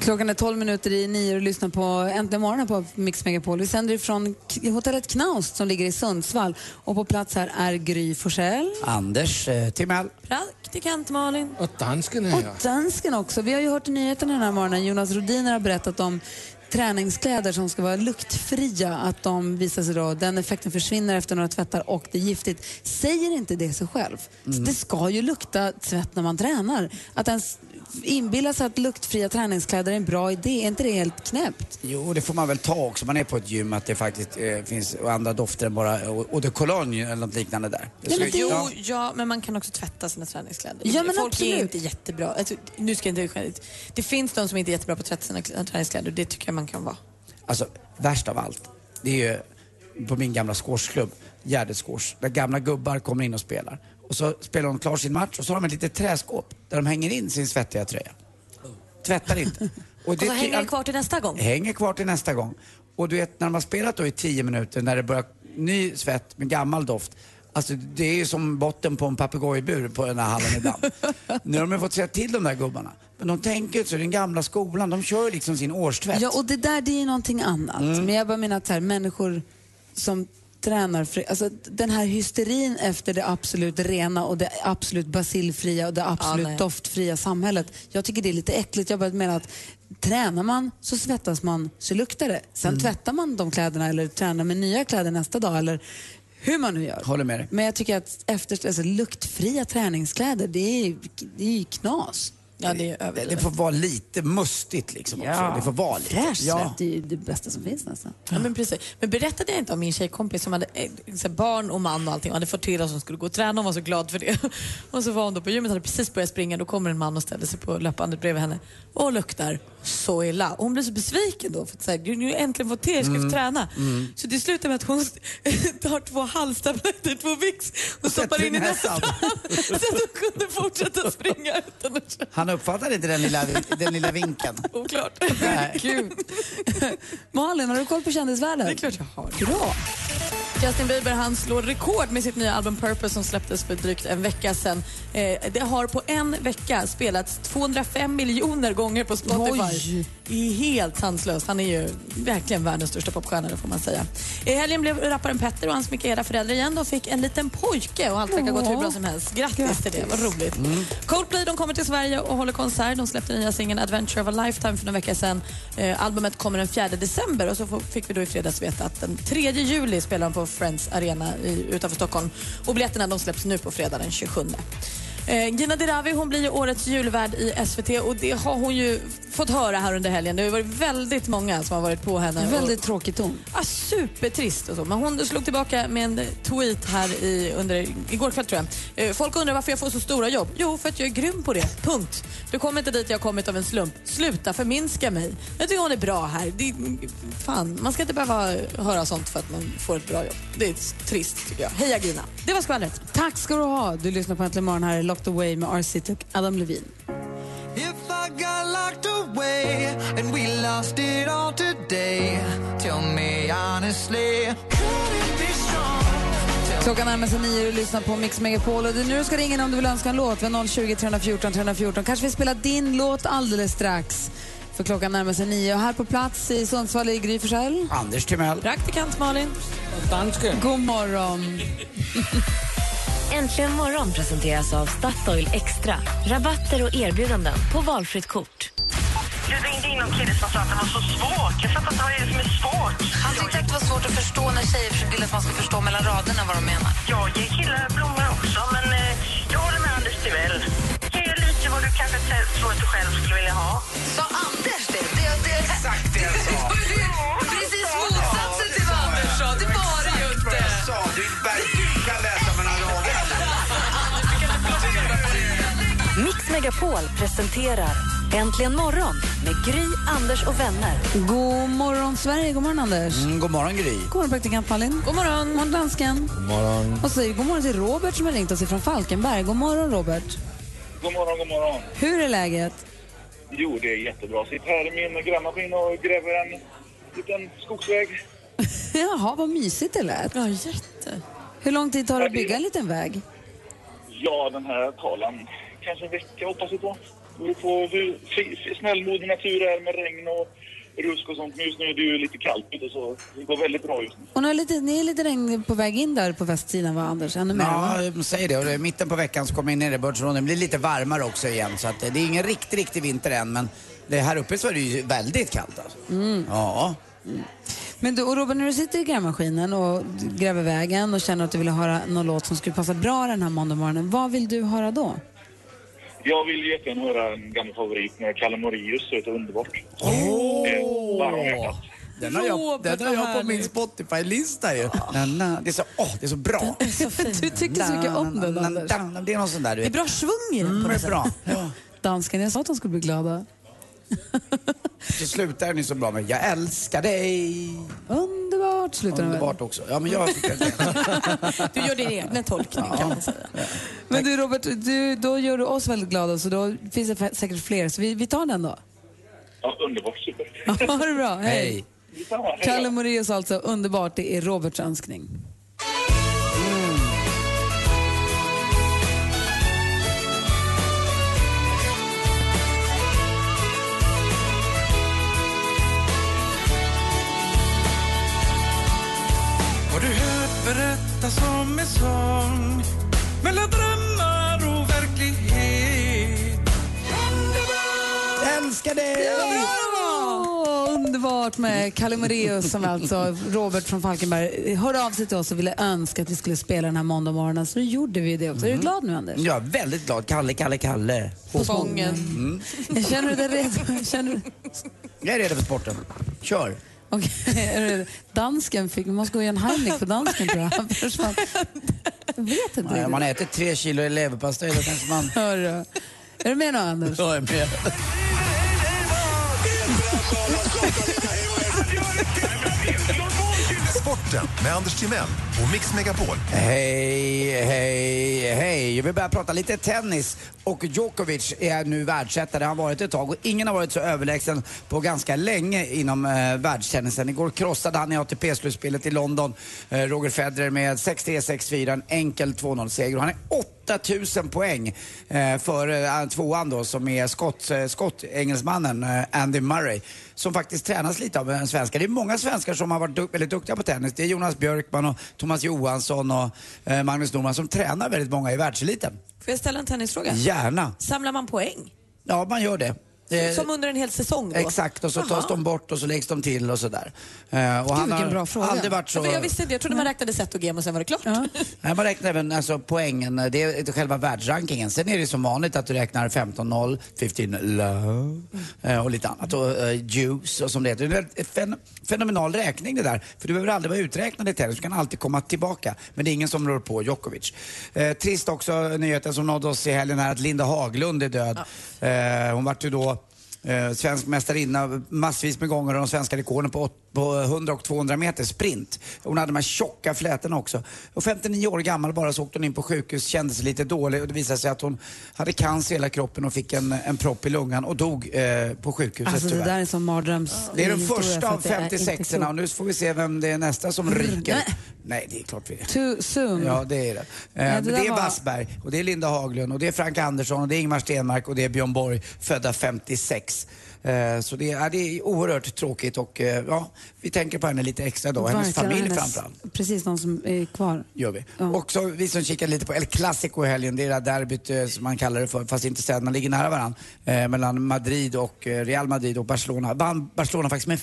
S6: Klockan är 12 minuter i nio och lyssnar på Äntligen morgon här på Mix Megapol. Vi sänder från K- hotellet Knaust som ligger i Sundsvall. Och på plats här är Gry Forssell.
S8: Anders eh, Timell.
S6: Praktikant Malin.
S22: Och dansken är
S6: Och
S22: här.
S6: dansken också. Vi har ju hört i nyheterna den här morgonen, Jonas Rodiner har berättat om träningskläder som ska vara luktfria, att de visar sig då, den effekten försvinner efter några tvättar och det är giftigt. Säger inte det sig själv?
S23: Mm.
S6: Det ska ju lukta tvätt när man tränar. Att ens inbilla sig att luktfria träningskläder är en bra idé, är inte det helt knäppt?
S8: Jo, det får man väl ta också. Man är på ett gym att det faktiskt eh, finns andra dofter än bara eau de cologne eller något liknande där.
S5: Nej, men
S8: Ja.
S5: jo, ja, men man kan också tvätta sina träningskläder.
S6: Ja, men
S5: Folk
S6: absolut.
S5: är inte jättebra. Alltså, nu ska jag inte skämt. Det finns de som inte är jättebra på att tvätta sina kl- träningskläder och det tycker jag man kan vara.
S8: Alltså, värst av allt, det är ju på min gamla squashklubb, Gärdets squash, där gamla gubbar kommer in och spelar. Och så spelar de klart sin match och så har de ett litet träskåp där de hänger in sin svettiga tröja. Tvättar inte.
S23: Och, så
S8: ty-
S23: hänger det kvar till nästa gång.
S8: hänger kvar till nästa gång. Och du vet när de har spelat då i 10 minuter när det börjar ny svett med gammal doft. Alltså det är ju som botten på en papegojbur på den här hallen ibland. nu har de ju fått säga till de där gubbarna. Men de tänker ju inte så, den gamla skolan, de kör ju liksom sin årstvätt.
S6: Ja, och det där det är ju någonting annat.
S8: Mm.
S6: Men jag bara menar att så här, människor som tränar, fri, alltså den här hysterin efter det absolut rena och det absolut basilfria och det absolut
S5: nej.
S6: doftfria samhället. Jag tycker det är lite äckligt. Jag bara menar att tränar man så svettas man så luktar det. Sen
S8: Mm.
S6: tvättar man de kläderna eller tränar med nya kläder nästa dag eller hur man nu gör.
S8: Håller med dig.
S6: Men jag tycker att efter, alltså, luktfria träningskläder, det är, det är ju knas.
S5: Ja, det är
S8: Det, det får vara lite mustigt liksom också. Det får vara lite.
S6: Fräsch svett är ju det bästa som finns nästan.
S5: Ja, men precis. Men berättade jag inte om min tjejkompis som hade eh, så här, barn och man och allting och hade fått till oss att hon skulle gå och träna och hon var så glad för det. Och så var hon då på gymmet och hade precis börjat springa. Då kommer en man och ställer sig på löpbandet bredvid henne och luktar så illa. Och hon blev så besviken då för att så här, "Du, nu har jag äntligen fått till er, ska vi få
S23: Mm.
S5: träna?
S23: Mm.
S5: Så det slutar med att hon tar två halstabletter, två Vicks och stoppar in i näsan så att hon kunde fortsätta springa utan att känna
S8: Han uppfattade inte den lilla, den lilla vinken.
S5: Oklart.
S6: Kul. Malin, har du koll på kändisvärlden? Det är
S5: klart jag har.
S6: Bra.
S5: Justin Bieber han slår rekord med sitt nya album Purpose som släpptes för drygt en vecka sedan. Eh, det har på en vecka spelats 205 miljoner gånger på Spotify.
S6: Oj.
S5: Det är helt sanslöst. Han är ju verkligen världens största popstjärna, det får man säga. I helgen blev rapparen Petter och hans Mikaela föräldrar igen. De fick en liten pojke och allt verkar gått hur bra som helst. Grattis, till det, vad roligt.
S6: Mm.
S5: Coldplay de kommer till Sverige och håller konsert. De släppte nya singeln Adventure of a Lifetime för några veckor sedan. Eh, albumet kommer den 4 december och så får- fick vi då i fredags veta att den 3 juli spelar de på Friends Arena i, utanför Stockholm. Och biljetterna de släpps nu på fredag den 27. Eh, Gina Dirawi hon blir ju årets julvärd i SVT och det har hon ju fått höra här under helgen. Det har ju varit väldigt många som har varit på henne. och-
S6: Väldigt tråkig ton.
S5: Ah, supertrist och så. Men hon slog tillbaka med en tweet här i, under, igår kväll tror jag. Eh, Folk undrar varför jag får så stora jobb. Jo, för att jag är grym på det. Punkt. Du kommer inte dit jag kommit av en slump. Sluta förminska mig. Jag tycker hon är bra här. Det, fan, man ska inte behöva höra sånt för att man får ett bra jobb. Det är trist tycker jag. Heja Gina. Det var skvallret.
S6: Tack ska du ha. Du lyssnar på Äntligen morgon. Här är Locked Away med R-City och Adam Levine.
S7: If I got locked away and we lost it all today, tell me honestly, could it be strong?
S6: Klockan närmar sig nio och du lyssnar på Mix Megapol. Och det är nu du ska ringa in om du vill önska en låt. Vi har 020 314 314. Kanske vi spelar din låt alldeles strax. För klockan närmar sig nio. Och här på plats i Sundsvall är Gry Forssell.
S8: Anders Timell.
S5: Praktikant Malin.
S8: Dansken.
S6: God morgon.
S24: Äntligen morgon presenteras av Statoil Extra. Rabatter och erbjudanden på valfritt kort.
S10: Du ringde in någon kille som sa att det var så svårt. Jag fattar inte vad det är som är svårt. Han tyckte att det var svårt att förstå när tjejer vill att man ska förstå mellan raderna vad de menar. Jag ger killar blommor också, men eh, jag håller med Anders Timell. Ge lite vad du kanske t- tror att du själv skulle vilja ha. Sa Anders det? det, det Exakt det jag sa. Precis motsatsen till vad Anders sa. Det var
S5: Megapol presenterar Äntligen morgon med Gry, Anders och vänner.
S6: God morgon, Sverige. God morgon, Anders.
S8: Mm, god morgon, Gry.
S6: God morgon, praktikant Malin.
S25: God morgon. God
S6: morgon, dansken.
S15: God morgon.
S6: Och så säger god morgon till Robert som har ringt oss från Falkenberg. God morgon, Robert.
S26: God morgon, god morgon.
S6: Hur är läget?
S26: Jo, det är jättebra. Sitter här i min grävmaskin och gräver en liten skogsväg.
S6: Jaha, vad mysigt det lät.
S25: Ja, jätte.
S6: Hur lång tid tar det att bygga en liten väg?
S26: Ja, den här talan kanske en vecka hoppas vi på. Det beror på hur fi- snällmodig natur är med regn och rusk och sånt. Men just nu är det ju lite kallt ute så det går väldigt bra just nu.
S6: Och nu är lite, ni är lite regn på väg in där på västsidan, va, Anders? Ännu mer? va?
S8: Ja, säg det. Och det är mitten på veckan så kommer in nederbördsfrån. Det blir lite varmare också igen. Så att eh, det det är ingen riktig, riktig vinter än. Men det här uppe så är det ju väldigt kallt alltså.
S6: Mm.
S8: Ja.
S6: Men du, och Robert, när du sitter i grävmaskinen och d- gräver vägen och känner att du vill höra någon låt som skulle passa bra den här måndagmorgonen, vad vill du höra då?
S26: Jag vill ju jättegärna höra en gammal favorit med Kalle Moraeus, Det är underbart. Eh, varm om hjärtat.
S8: Den har jag, den har jag på min Spotify-lista ju. Na, na. Det, är så, åh, det är så bra.
S6: Du tyckte så mycket om den, Anders.
S8: Anders. Det är någon sån där du
S25: Det är
S8: vet.
S25: bra svung i den.
S8: Mm, det är bra. Ja.
S6: Dansken, jag sa att de skulle bli glada.
S8: Så slutar den ju så bra med Jag älskar dig.
S6: Underbart, slutar den väl?
S8: Underbart också. Ja, men jag tycker det.
S25: Du gör din egna tolkning kan man säga.
S6: Men du Robert, du, då gör du oss väldigt glada så då finns det fä- säkert fler. Så vi, vi tar den då.
S26: Ja, underbart. Super.
S6: ha det bra, hej.
S8: Hej.
S26: Detsamma, hej då.
S6: Kalle Moraeus alltså, underbart. Det är Roberts önskning.
S16: Har du hört berättas om en sång mellan drömmar och verklighet?
S8: Älskar dig!
S6: Åh, underbart med Kalle Moraeus som alltså Robert från Falkenberg hörde av sig till oss och ville önska att vi skulle spela den här måndagmorgonen. Så då gjorde vi det också. Är du glad nu Anders?
S8: Jag är väldigt glad. Kalle, Kalle, Kalle.
S6: Mm. På spången.
S8: Mm.
S6: Känner du dig redo? Känner du...
S8: Jag är redo för sporten. Kör.
S6: Okej, är du redo? dansken fick... Vi måste gå och göra en Heimlich på dansken tror jag. Han försvann. Jag vet inte
S8: Nej,
S6: riktigt.
S8: om man äter tre kilo leverpastej då kanske man...
S6: Hörru. Är du med nu Anders?
S8: Då är jag med.
S12: Sporten med Anders Timell och Mix Megapol.
S8: Hej, hej, hej. Vi börjar prata lite tennis. Och Djokovic är nu världsettare. Han har varit ett tag och ingen har varit så överlägsen på ganska länge inom eh, världstennisen. Igår krossade han i ATP-slutspelet i London eh, Roger Federer med 6-3, 6-4. En enkel 2-0-seger. Och Han är 8000 poäng eh, för eh, tvåan då som är skott, eh, skottengelsmannen eh, Andy Murray som faktiskt tränas lite av en svenskar. Det är många svenskar som har varit du- väldigt duktiga på tennis. Det är Jonas Björkman och Thomas Johansson och eh, Magnus Norman som tränar väldigt många i världseliten.
S25: Får jag ställa en tennisfråga?
S8: Gärna.
S25: Samlar man poäng?
S8: Ja, man gör det. Eh,
S25: Som under en hel säsong då?
S8: Exakt, och så tas
S25: Jaha.
S8: de bort och så läggs de till och sådär. Eh, och han
S6: vilken
S8: har
S6: bra fråga.
S8: aldrig varit så...
S25: Ja, för jag visste inte, jag trodde man räknade set och game och sen var det klart.
S8: Nej, man räknar även alltså, poängen, eh, det är själva världsrankingen. Sen är det som vanligt att du räknar 15-0, 15 love eh, och lite annat. Och eh, juice och som det heter. Det är en fen- fenomenal räkning det där. För du behöver aldrig vara uträknad i tennis, du kan alltid komma tillbaka. Men det är ingen som rör på Djokovic. Eh, trist också nyheten som nådde oss i helgen här att Linda Haglund är död. Eh, hon vart ju då Eh, svensk mästarinna massvis med gånger och de svenska rekorden på, åt- på 100 och 200 meter sprint. Hon hade de här tjocka flätorna också. Och 59 år gammal bara så åkte hon in på sjukhus, kände sig lite dålig och det visade sig att hon hade cancer i hela kroppen och fick en, en propp i lungan och dog eh, på sjukhuset
S6: Alltså det
S8: tyvärr.
S6: där är en sån mardröms...
S8: Det är den
S6: historia, så
S8: första av
S6: att det är inte
S8: 56
S6: klokt.
S8: erna och nu får vi se vem det är nästa som ryker. Nej, det är klart vi är.
S6: Too soon.
S8: Ja, det är det. Eh, men
S6: där
S8: det är
S6: var-
S8: Wassberg, och det är Linda Haglund, och det är Frank Andersson, och det är Ingmar Stenmark och det är Björn Borg, födda 56. Eh, Så det är, det är oerhört tråkigt och eh, ja, vi tänker på henne lite extra idag, hennes
S6: Verkligen,
S8: familj
S6: hennes-
S8: framförallt.
S6: Precis, de som är kvar.
S8: Gör vi. Och så vi som kikar lite på El Clasico i helgen, det är det där derbyt eh, som man kallar det för, fast inte städerna ligger nära varandra, eh, mellan Madrid och eh, Real Madrid och Barcelona. Vann Barcelona faktiskt med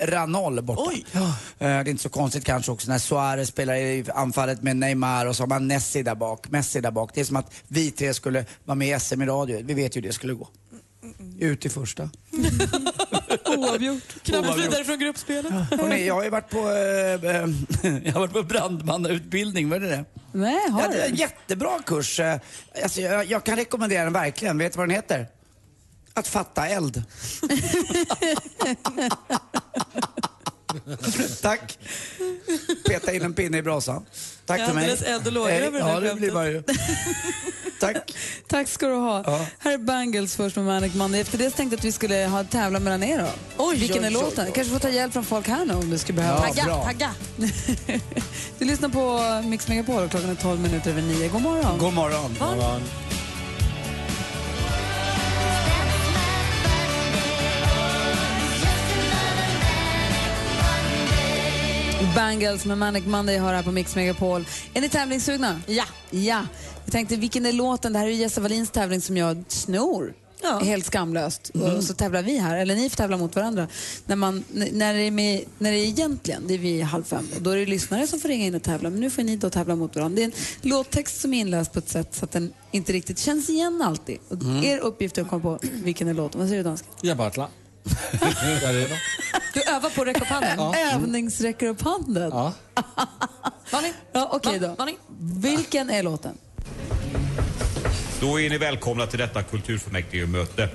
S8: 4-0 borta. Eh, det är inte så konstigt kanske också när Suarez spelar i anfallet med Neymar och så har man Messi där bak, Messi där bak. Det är som att vi tre skulle vara med i SM i radio. Vi vet ju hur det skulle gå. Ut i första.
S25: Oavgjort. Knappt vidare från gruppspelet.
S8: Hörrni, jag har ju varit på, eh, eh, jag har varit på brandmannautbildning, var det det?
S6: Nej, har
S8: ja, det är
S6: du?
S8: en jättebra kurs. Eh, Alltså, jag, jag kan rekommendera den verkligen. Vet du vad den heter? Att fatta eld. Tack. Peta in en pinne i brasan. Tack
S27: Jag är
S8: för mig.
S27: alldeles eld och lågor
S8: Hej.
S27: över det
S8: Ja,
S27: där
S8: det blir man ju. Tack.
S6: Tack ska du ha.
S8: Ja.
S6: Här är Bangles först med Manic Monday. Efter det så tänkte jag att vi skulle ha tävla mellan er då.
S27: Oj,
S6: Vilken
S27: oj,
S6: är
S27: oj,
S6: låten?
S27: oj.
S6: Kanske få ta hjälp från folk här nu om du skulle behöva.
S27: tagga, tagga.
S6: Du lyssnar på Mix Megapol och klockan är 12 minuter över 9. God morgon.
S8: God morgon.
S6: God morgon. Bangles med Manic Monday har här på Mix Megapol. Är ni tävlingssugna?
S27: Ja.
S6: Ja. Jag tänkte, vilken är låten? Det här är ju Jesse Wallins tävling som jag snor.
S27: Ja.
S6: Helt skamlöst.
S27: Mm.
S6: Och så tävlar vi här, eller ni får tävla mot varandra. När, man, n- när, det är med, när det är egentligen, det är vi halv fem, och då är det lyssnare som får ringa in och tävla. Men nu får ni då tävla mot varandra. Det är en låttext som är inläst på ett sätt så att den inte riktigt känns igen alltid. Och
S28: Mm.
S6: Er uppgift är att komma på vilken är låten. Vad säger du danska?
S28: Jag bara klar. Jag är redo.
S6: Du övar på att räcka upp handen?
S28: Ja.
S6: Övningsräcker upp handen?
S28: Ja.
S6: Malin? Ja, okej då. Vilken är låten?
S7: Då är ni välkomna till detta kulturfullmäktigemöte.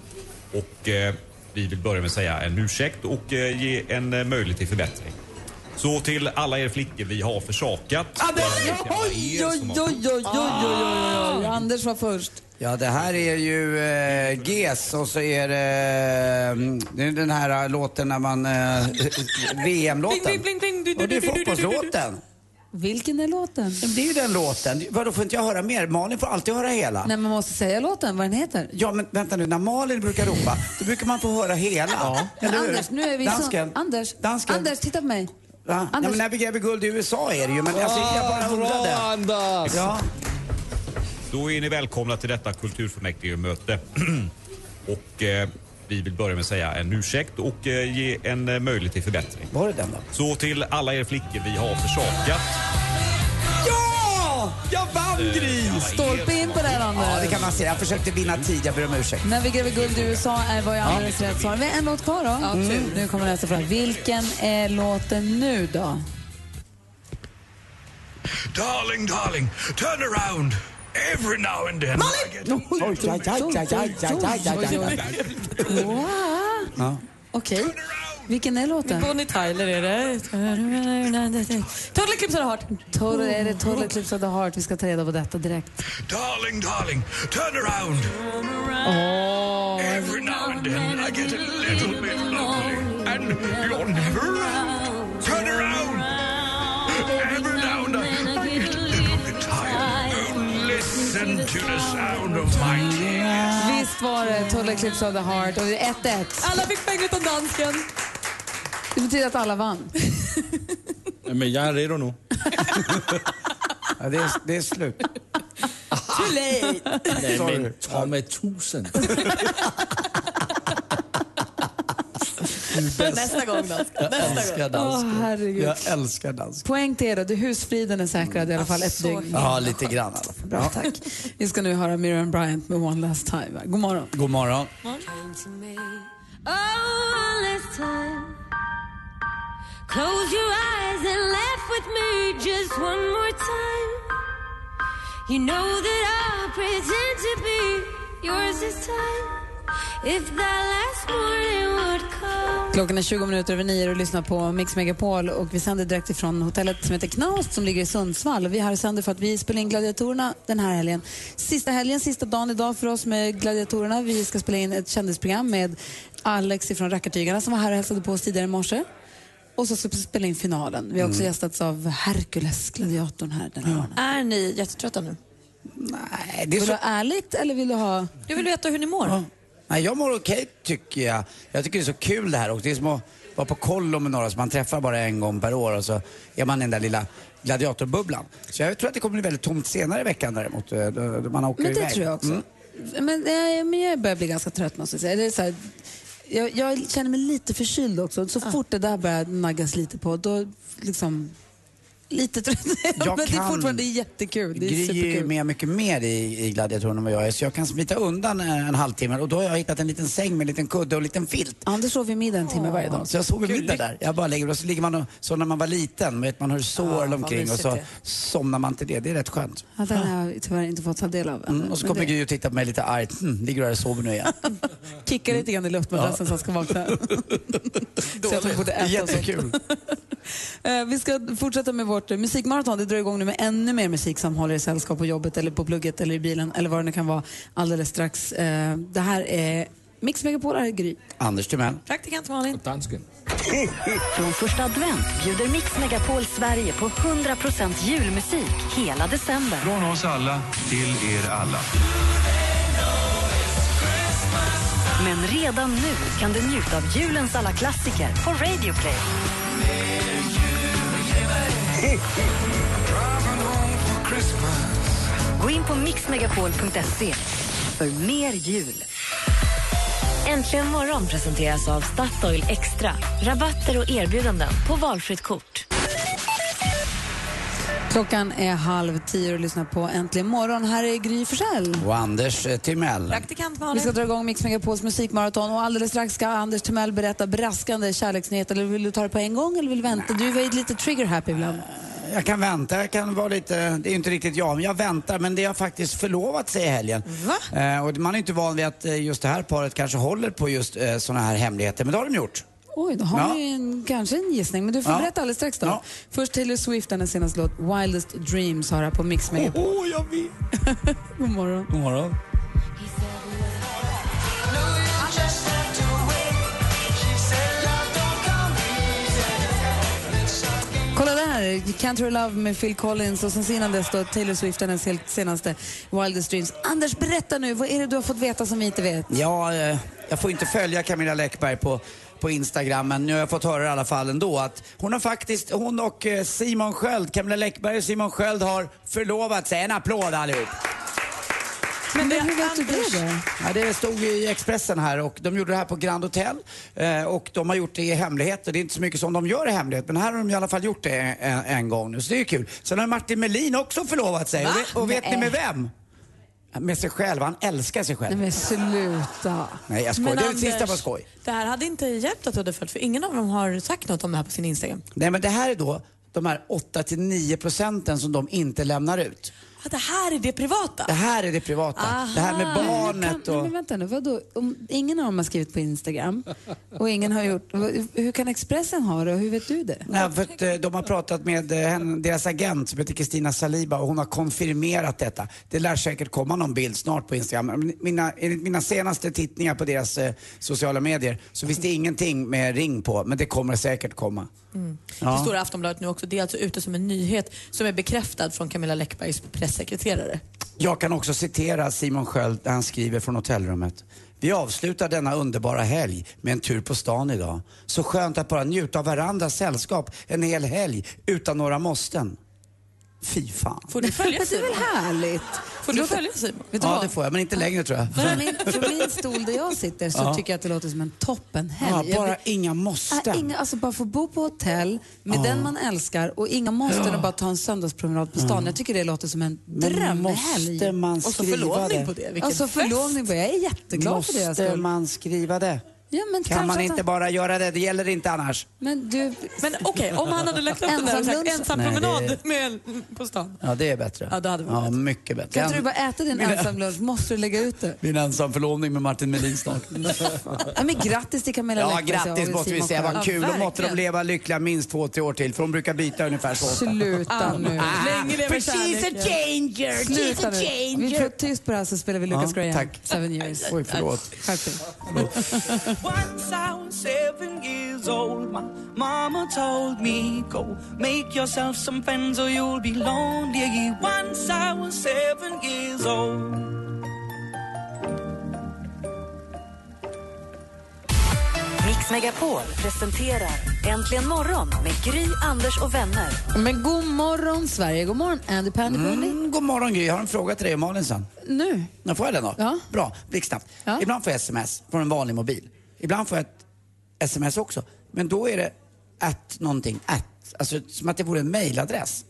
S7: och eh, vi vill börja med att säga en ursäkt och eh, ge en eh, möjlighet till förbättring. Så till alla er flickor vi har försakat.
S6: Oj, oj, oj, oj, oj, oj, oj, oj. Anders var först.
S8: Ja, det här är ju eh, GES och så är det eh, det är den här eh, låten när man... Eh, VM-låten. Och det är fotbollslåten.
S6: Vilken är låten?
S8: Det är ju den låten. Vadå, får inte jag höra mer? Malin får alltid höra hela.
S6: Nej, man måste säga låten, vad den heter.
S8: Ja, men vänta nu. När Malin brukar ropa, då brukar man få höra hela.
S6: Men
S8: Eller hur?
S6: Anders, nu är vi
S8: Dansken.
S6: så... Anders,
S8: Dansken.
S6: Anders, titta på mig.
S8: Va? Nej,
S6: Anders.
S8: men när vi gräver guld i USA är det ju, men alltså, jag bara undrade.
S7: bra,
S8: Anders! Ja.
S7: Då är ni välkomna till detta kulturfullmäktigemöte. och eh, vi vill börja med att säga en ursäkt och eh, ge en eh, möjlighet till förbättring.
S8: Var det den då?
S7: Så till alla er flickor vi har försakat.
S8: Ja! Jag vann gris!
S6: Stolpe in på det här, Anders.
S8: Ja, det kan man säga. Jag försökte vinna tid, jag ber om ursäkt.
S6: När vi gräver guld i USA är var ju alldeles rätt svar. Vi har en låt kvar då. Mm,
S8: Ja, tur.
S6: Nu kommer nästa fråga. Vilken är låten nu då?
S12: Darling, darling, turn around. Every now and then. I get-
S6: Wow.
S8: Ja.
S6: Okej. Vilken är låten?
S27: Bonnie Tyler är det.
S6: Total Eclipse of the Heart. Total, är det Total
S27: Oh.
S6: Eclipse of the Heart? Vi ska ta reda på detta direkt.
S12: Darling, darling, turn around. Every now and then I get a little bit lonely. And you're never around. Turn around. Every now and then I get a little bit tired. Oh, listen to the sound of my tears.
S6: Visst var det Total Eclipse of the Heart och det är 1-1.
S27: Alla fick poäng utom dansken.
S6: Det betyder att alla vann.
S28: Men jag är redo nu.
S8: Ja, det, är, det är slut.
S27: Too late.
S28: Nej, men ta med tusen.
S27: Nästa gång dansken.
S8: Jag
S27: Nästa
S8: älskar
S27: gång.
S8: dansken.
S6: Åh, herregud.
S8: Jag älskar dansken.
S6: Poäng till er då. Det- Husfriden är säkrad i alla fall ett dygn.
S8: Ja, lite grann i alla fall.
S6: Bra, tack. Vi ska nu höra Miriam Bryant med One Last Time. God morgon.
S8: God morgon.
S5: Come to me. Mm. Oh, one last time. Close your eyes and laugh with me just one more time. You know that I'll pretend to be yours this time. If that last morning would come.
S6: Klockan är 20 minuter över nio och du lyssnar på Mix Megapol och vi sänder direkt ifrån hotellet som heter Knaust som ligger i Sundsvall. Och vi är här och sänder för att vi spelar in Gladiatorerna den här helgen. Sista helgen, sista dagen idag för oss med Gladiatorerna. Vi ska spela in ett kändisprogram med Alex ifrån Rackartygarna som var här och hälsade på oss tidigare i morse. Och så ska vi spela in finalen. Vi har också
S27: Mm.
S6: gästats av Hercules, gladiatorn här den här morgonen.
S27: Är ni jättetrötta nu?
S8: Nej, det är
S6: Vill du
S8: så...
S6: ha ärligt eller vill du ha...
S27: Jag vill veta hur ni mår.
S8: Nej, jag mår okej tycker jag. Jag tycker det är så kul det här och det är som att vara på kollo med några som man träffar bara en gång per år och så är man i den där lilla gladiatorbubblan. Så jag tror att det kommer bli väldigt tomt senare i veckan däremot. eh, Då, då man åker
S6: Men det
S8: iväg.
S6: tror jag också.
S8: Mm.
S6: Men, eh, men jag börjar bli ganska trött måste jag säga. Det är så här, jag, jag
S8: Ah.
S6: känner mig lite förkyld också. Så fort det där börjar naggas lite på, då liksom Lite trött. men det är
S8: kan-
S6: fortfarande jättekul. Det är
S8: Gry är ju
S6: superkul.
S8: med mycket mer i, i Gladiatorn än vad jag är, så jag kan smita undan eh, en halvtimme och då har jag hittat en liten säng med en liten kudde och en liten filt.
S6: Anders sover middag en timme varje dag.
S8: Så jag sover middag där. Jag bara lägger och så ligger man och, så när man var liten, vet man hur sår
S6: vad
S8: omkring och
S6: mysigt
S8: så
S6: det.
S8: somnar man till det. Det är rätt skönt.
S6: Ja, den har jag tyvärr inte fått ta del av än.
S8: Mm, och så
S6: Men
S8: kommer
S6: det-
S8: Gry och tittar på mig lite argt. Mm, ligger du här och sover nu igen?
S6: Kicka lite grann i luftmadrassen så han ska vakna. så att hon borde äta
S8: Jättekul.
S6: Eh, Vi ska fortsätta med vårt eh, musikmaraton. Det drar igång nu med ännu mer musik som håller i sällskap på jobbet eller på plugget eller i bilen eller vad det nu kan vara alldeles strax. Eh, Det här är Mix Megapol, här är Gry.
S8: Anders Timell.
S25: Praktikant Malin.
S29: Dansken.
S5: Från första advent bjuder Mix Megapol Sverige på 100% julmusik hela december.
S1: Från oss alla till er alla.
S5: Men redan nu kan du njuta av julens alla klassiker på Radio Play. Gå in på mixmegapol.se för mer jul.
S13: Äntligen morgon presenteras av Statoil Extra. Rabatter och erbjudanden på valfritt kort.
S6: Klockan är halv tio och lyssnar på Äntligen morgon. Här är Gry Forssell.
S8: Och Anders eh, Timell.
S6: Vi ska dra igång Mix Megapols musikmaraton och alldeles strax ska Anders Timell berätta braskande kärleksnyheter. Eller vill du ta det på en gång eller vill du vänta? Du var ju lite trigger-happy ibland.
S8: Jag kan vänta, jag kan vara lite, det är ju inte riktigt jag, men jag väntar. Men det har faktiskt förlovat sig i helgen. Eh, och man är inte van vid att eh, just det här paret kanske håller på just eh, sådana här hemligheter, men det har de gjort.
S6: Oj, då har
S8: Ja.
S6: vi en, kanske en gissning, men du får
S8: Ja.
S6: berätta alldeles strax då. Först Taylor Swift, hennes senaste låt Wildest Dreams har här på Mix Megapol.
S8: Åh, jag vet!
S6: God morgon.
S8: God morgon.
S6: Kolla där, Can't Your Love med Phil Collins och sen innan dess då Taylor Swift, hennes helt senaste Wildest Dreams. Anders, berätta nu, vad är det du har fått veta som vi inte vet?
S8: Ja, eh, jag får inte följa Camilla Läckberg på på Instagram, men nu har jag fått höra i alla fall ändå att hon har faktiskt, hon och eh, Simon Sköld, Camilla Läckberg och Simon Sköld har förlovat sig. En applåd allihop!
S6: Men, hur vet du det då?
S8: Ja, det stod ju i Expressen här och de gjorde det här på Grand Hotel eh, och de har gjort det i hemlighet och det är inte så mycket som de gör i hemlighet men här har de i alla fall gjort det en, en gång nu så det är ju kul. Sen har Martin Melin också förlovat sig
S6: Va?
S8: och, vet- och vet ni
S6: Nej.
S8: med vem? Med sig själv, han älskar sig själv.
S6: Nej men sluta.
S8: Nej jag skojar,
S25: Men
S8: det är det sista
S25: Anders,
S8: var skoj.
S25: Det här hade inte hjälpt att du hade följt för ingen av dem har sagt något om det här på sin Instagram.
S8: Nej men det här är då de här 8-9 procenten som de inte lämnar ut.
S25: Ah, det här är det privata.
S8: Det här är det privata. Det här med
S6: Men,
S8: barnet
S6: kan,
S8: och...
S6: men vänta nu, vadå? Om, ingen av dem har skrivit på Instagram och ingen har gjort... vad- Hur kan Expressen ha det och hur vet du det?
S8: Nej, för att eh, de har pratat med eh, henne- deras agent som heter Kristina Saliba och hon har konfirmerat detta. Det lär säkert komma någon bild snart på Instagram. Men Mina, enligt mina senaste tittningar på deras eh, sociala medier så finns det ingenting med ring på, men det kommer säkert komma.
S25: Mm.
S8: Ja.
S25: Det står i Aftonbladet nu också. Det är alltså ute som en nyhet som är bekräftad från Camilla Läckbergs pressekreterare.
S8: Jag kan också citera Simon Sköld när han skriver från hotellrummet. Vi avslutar denna underbara helg med en tur på stan idag. Så skönt att bara njuta av varandras sällskap en hel helg utan några måsten. Fy fan.
S25: Får du följa
S6: Men det är
S25: Simon?
S6: väl härligt?
S25: Får du följa Simon? Vet du
S8: Ja,
S25: vad?
S8: det får jag, men inte längre tror jag.
S6: Från min, från min stol där jag sitter så
S8: Ja.
S6: tycker jag att det låter som en
S8: Ja,
S6: toppenhelg.
S8: bara
S6: Jag vill-
S8: inga
S6: Ah,
S8: måsten.
S6: inga, alltså bara få bo på hotell med
S8: Ja.
S6: den man älskar och inga måsten och bara ta en söndagspromenad på stan. Jag tycker det låter som en
S8: Men
S6: drömhelg.
S8: måste man Och så skriva förlovning det? på det, vilken
S6: Och så förlovning på det. Jag är jätteglad för deras
S8: Måste
S6: skull.
S8: man skriva det?
S6: Ja, men
S8: Kan
S6: kanske
S8: man
S6: att
S8: inte
S6: han-
S8: bara göra det? Det gäller inte annars.
S6: Men du...
S25: Men okej, om han hade lagt upp den där och sagt
S6: Ensamlunch.
S25: ensam
S8: Nej, det-
S25: promenad med, på stan.
S8: Ja, det är bättre.
S25: Ja, det hade
S8: varit mycket bättre.
S6: Kan inte du bara äta din
S8: Mina-
S6: ensamlunch? Måste du lägga ut det?
S8: Min ensamförlovning med Martin Melin snart.
S6: Ja, men grattis till Camilla
S8: Ja,
S6: Läckberg, säger
S8: grattis
S6: jag,
S8: måste vi
S6: Simon
S8: säga.
S6: Sköld.
S8: Vad kul.
S6: Ja,
S8: Och måtte de
S6: verkligen.
S8: leva lyckliga minst två, tre år till. För de brukar byta ungefär så ofta.
S6: Sluta nu.
S8: Ah, för she's a
S6: changer. Sluta
S8: She's a
S6: nu.
S8: changer.
S6: Vi får tyst på det här så spelar vi Lucas
S8: Ja,
S6: Graham.
S8: tack.
S6: Seven years.
S8: Oj, förlåt.
S6: Skärp dig.
S3: Once I was seven years old, my mama told me, Go make yourself some friends or you'll be lonely. Once I was seven years old.
S5: Mix Megapol presenterar Äntligen morgon med Gry, Anders och vänner.
S6: Men god morgon Sverige, god morgon Andy Pandy Bundy.
S8: Mm, god morgon Gry. Jag har en fråga till dig och Malin sen.
S6: Nu?
S8: Nu får jag den då? Bra, blixtsnabbt. Ibland får jag sms från en vanlig mobil. Ibland får jag ett sms också. Men då är det at någonting, at. Alltså som att det vore en mailadress.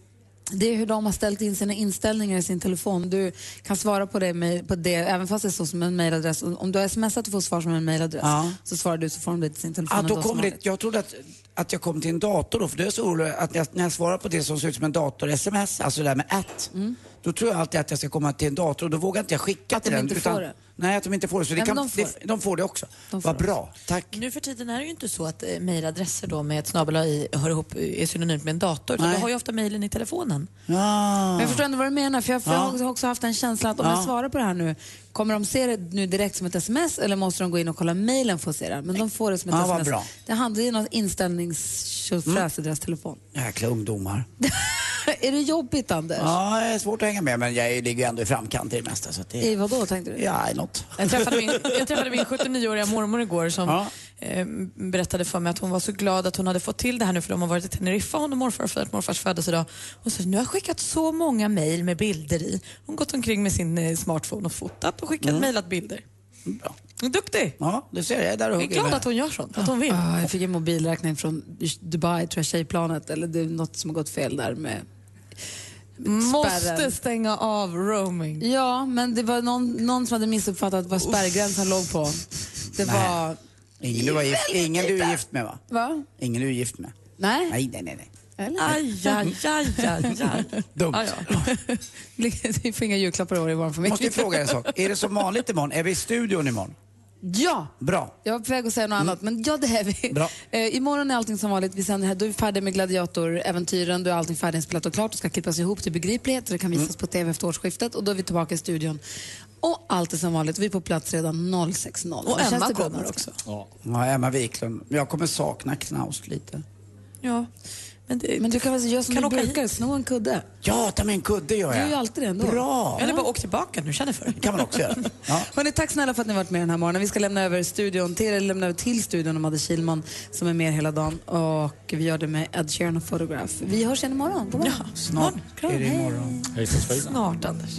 S6: Det är hur de har ställt in sina inställningar i sin telefon. Du kan svara på det, med, på det även fast det står som en mejladress. Om du har smsat och får svar som en mejladress
S8: Ja.
S6: så svarar du så får de det till sin telefon
S8: Ja, då
S6: ändå som
S8: kommer
S6: vanligt.
S8: det, jag trodde att, att jag kom till en dator då, för då är jag så orolig att när jag, när jag svarar på det som ser ut som en dator-sms, alltså det där med att,
S25: Mm.
S8: då tror jag alltid att jag ska komma till en dator och då vågar inte jag skicka
S6: Att
S8: till
S6: de
S8: den.
S6: inte får det.
S8: Nej, att de inte får det. Så det
S25: Nej, men
S8: kan,
S25: de får
S8: det, de får det också. Vad bra. Tack.
S25: Nu för tiden är det ju inte så att eh, mejladresser då med ett snabel i hör ihop är synonymt med en dator. utan
S6: Nej.
S25: Du har ju ofta mejlen i telefonen.
S6: Men jag förstår ändå vad du menar, för jag för jag har också haft en känsla att om
S25: Ja.
S6: jag svarar på det här nu, kommer de se det nu direkt som ett sms eller måste de gå in och kolla mejlen för att se det? Men de får det som ett
S8: Ja, vad
S6: sms.
S8: bra. Mm.
S6: Det handlar ju om något inställningstjofräs i deras telefon.
S8: Jäkla ungdomar.
S6: är det jobbigt, Anders?
S8: Ja, det är svårt att hänga med men jag ligger ju ändå i framkant i det mesta. Så att det,
S6: I vad då tänkte du?
S8: Ja, i något.
S25: Jag träffade min, jag träffade min 79-åriga mormor igår som eh, berättade för mig att hon var så glad att hon hade fått till det här nu för de har varit i Teneriffa, hon och morfar har firat morfars födelsedag. Hon sa nu har jag skickat så många mejl med bilder i. Hon har gått omkring med sin eh, smartphone och fotat och skickat
S8: Mm.
S25: mejlat bilder. Bra. Duktig!
S8: Ja, du ser, jag är där och
S25: Jag är
S8: hugger
S25: glad
S8: med.
S25: att hon gör sånt, att hon vill.
S6: Ah, jag fick en mobilräkning från Dubai, tror jag, tjejplanet. Eller det är något som har gått fel där med
S25: Måste
S6: spärren.
S25: stänga av roaming.
S6: Ja, men det var någon, någon som hade missuppfattat vad spärrgränsen låg på. Det
S8: Nej.
S6: var...
S8: Ingen du, var gift, ingen du är gift med va?
S6: Va?
S8: Ingen du är gift med?
S6: Nej.
S8: Nej, nej, nej. nej.
S6: Eller?
S25: Aj, aj, aj, aj, aj.
S8: Dumt.
S6: Vi får inga julklappar i år i vår familj.
S8: Måste ju fråga en sak. Är det som vanligt imorgon? Är vi i studion imorgon?
S6: Ja!
S8: Bra.
S6: Jag var på väg att säga något annat,
S25: Mm.
S6: men ja, det är vi.
S8: Bra.
S6: Eh, imorgon är allting som vanligt. Vi sänder här. Du är vi färdig med gladiatoräventyren. Du är allting färdiginspelat och klart. Det ska klippas ihop till begriplighet och det kan visas
S25: Mm.
S6: på TV efter årsskiftet. Och då är vi tillbaka i studion. Och allt är som vanligt. Vi är på plats redan 06.00.
S25: Och
S6: Känns
S25: Emma
S6: det bra, alltså.
S25: kommer
S6: Nanska?
S25: också.
S8: Ja, Emma Wiklund. Jag kommer sakna Knaust lite.
S25: Ja. Men, det,
S6: men du kan väl göra som
S25: Kan
S6: du
S25: åka hit.
S6: brukar, sno en kudde.
S8: Ja, ta med en kudde gör
S6: Du
S8: jag.
S6: gör ju alltid det ändå.
S8: Bra.
S25: Eller bara åk tillbaka nu, känner för det.
S8: kan man också göra.
S6: Hörrni, tack snälla för att ni har varit med den här morgonen. Vi ska lämna över studion till, eller lämna över till studion om Madde Kilman som är med hela dagen. Och vi gör det med Ed Sheeran och Photograph. Vi hörs igen imorgon. God morgon. Ja,
S8: snart är det imorgon. Mm.
S25: Snart, Anders.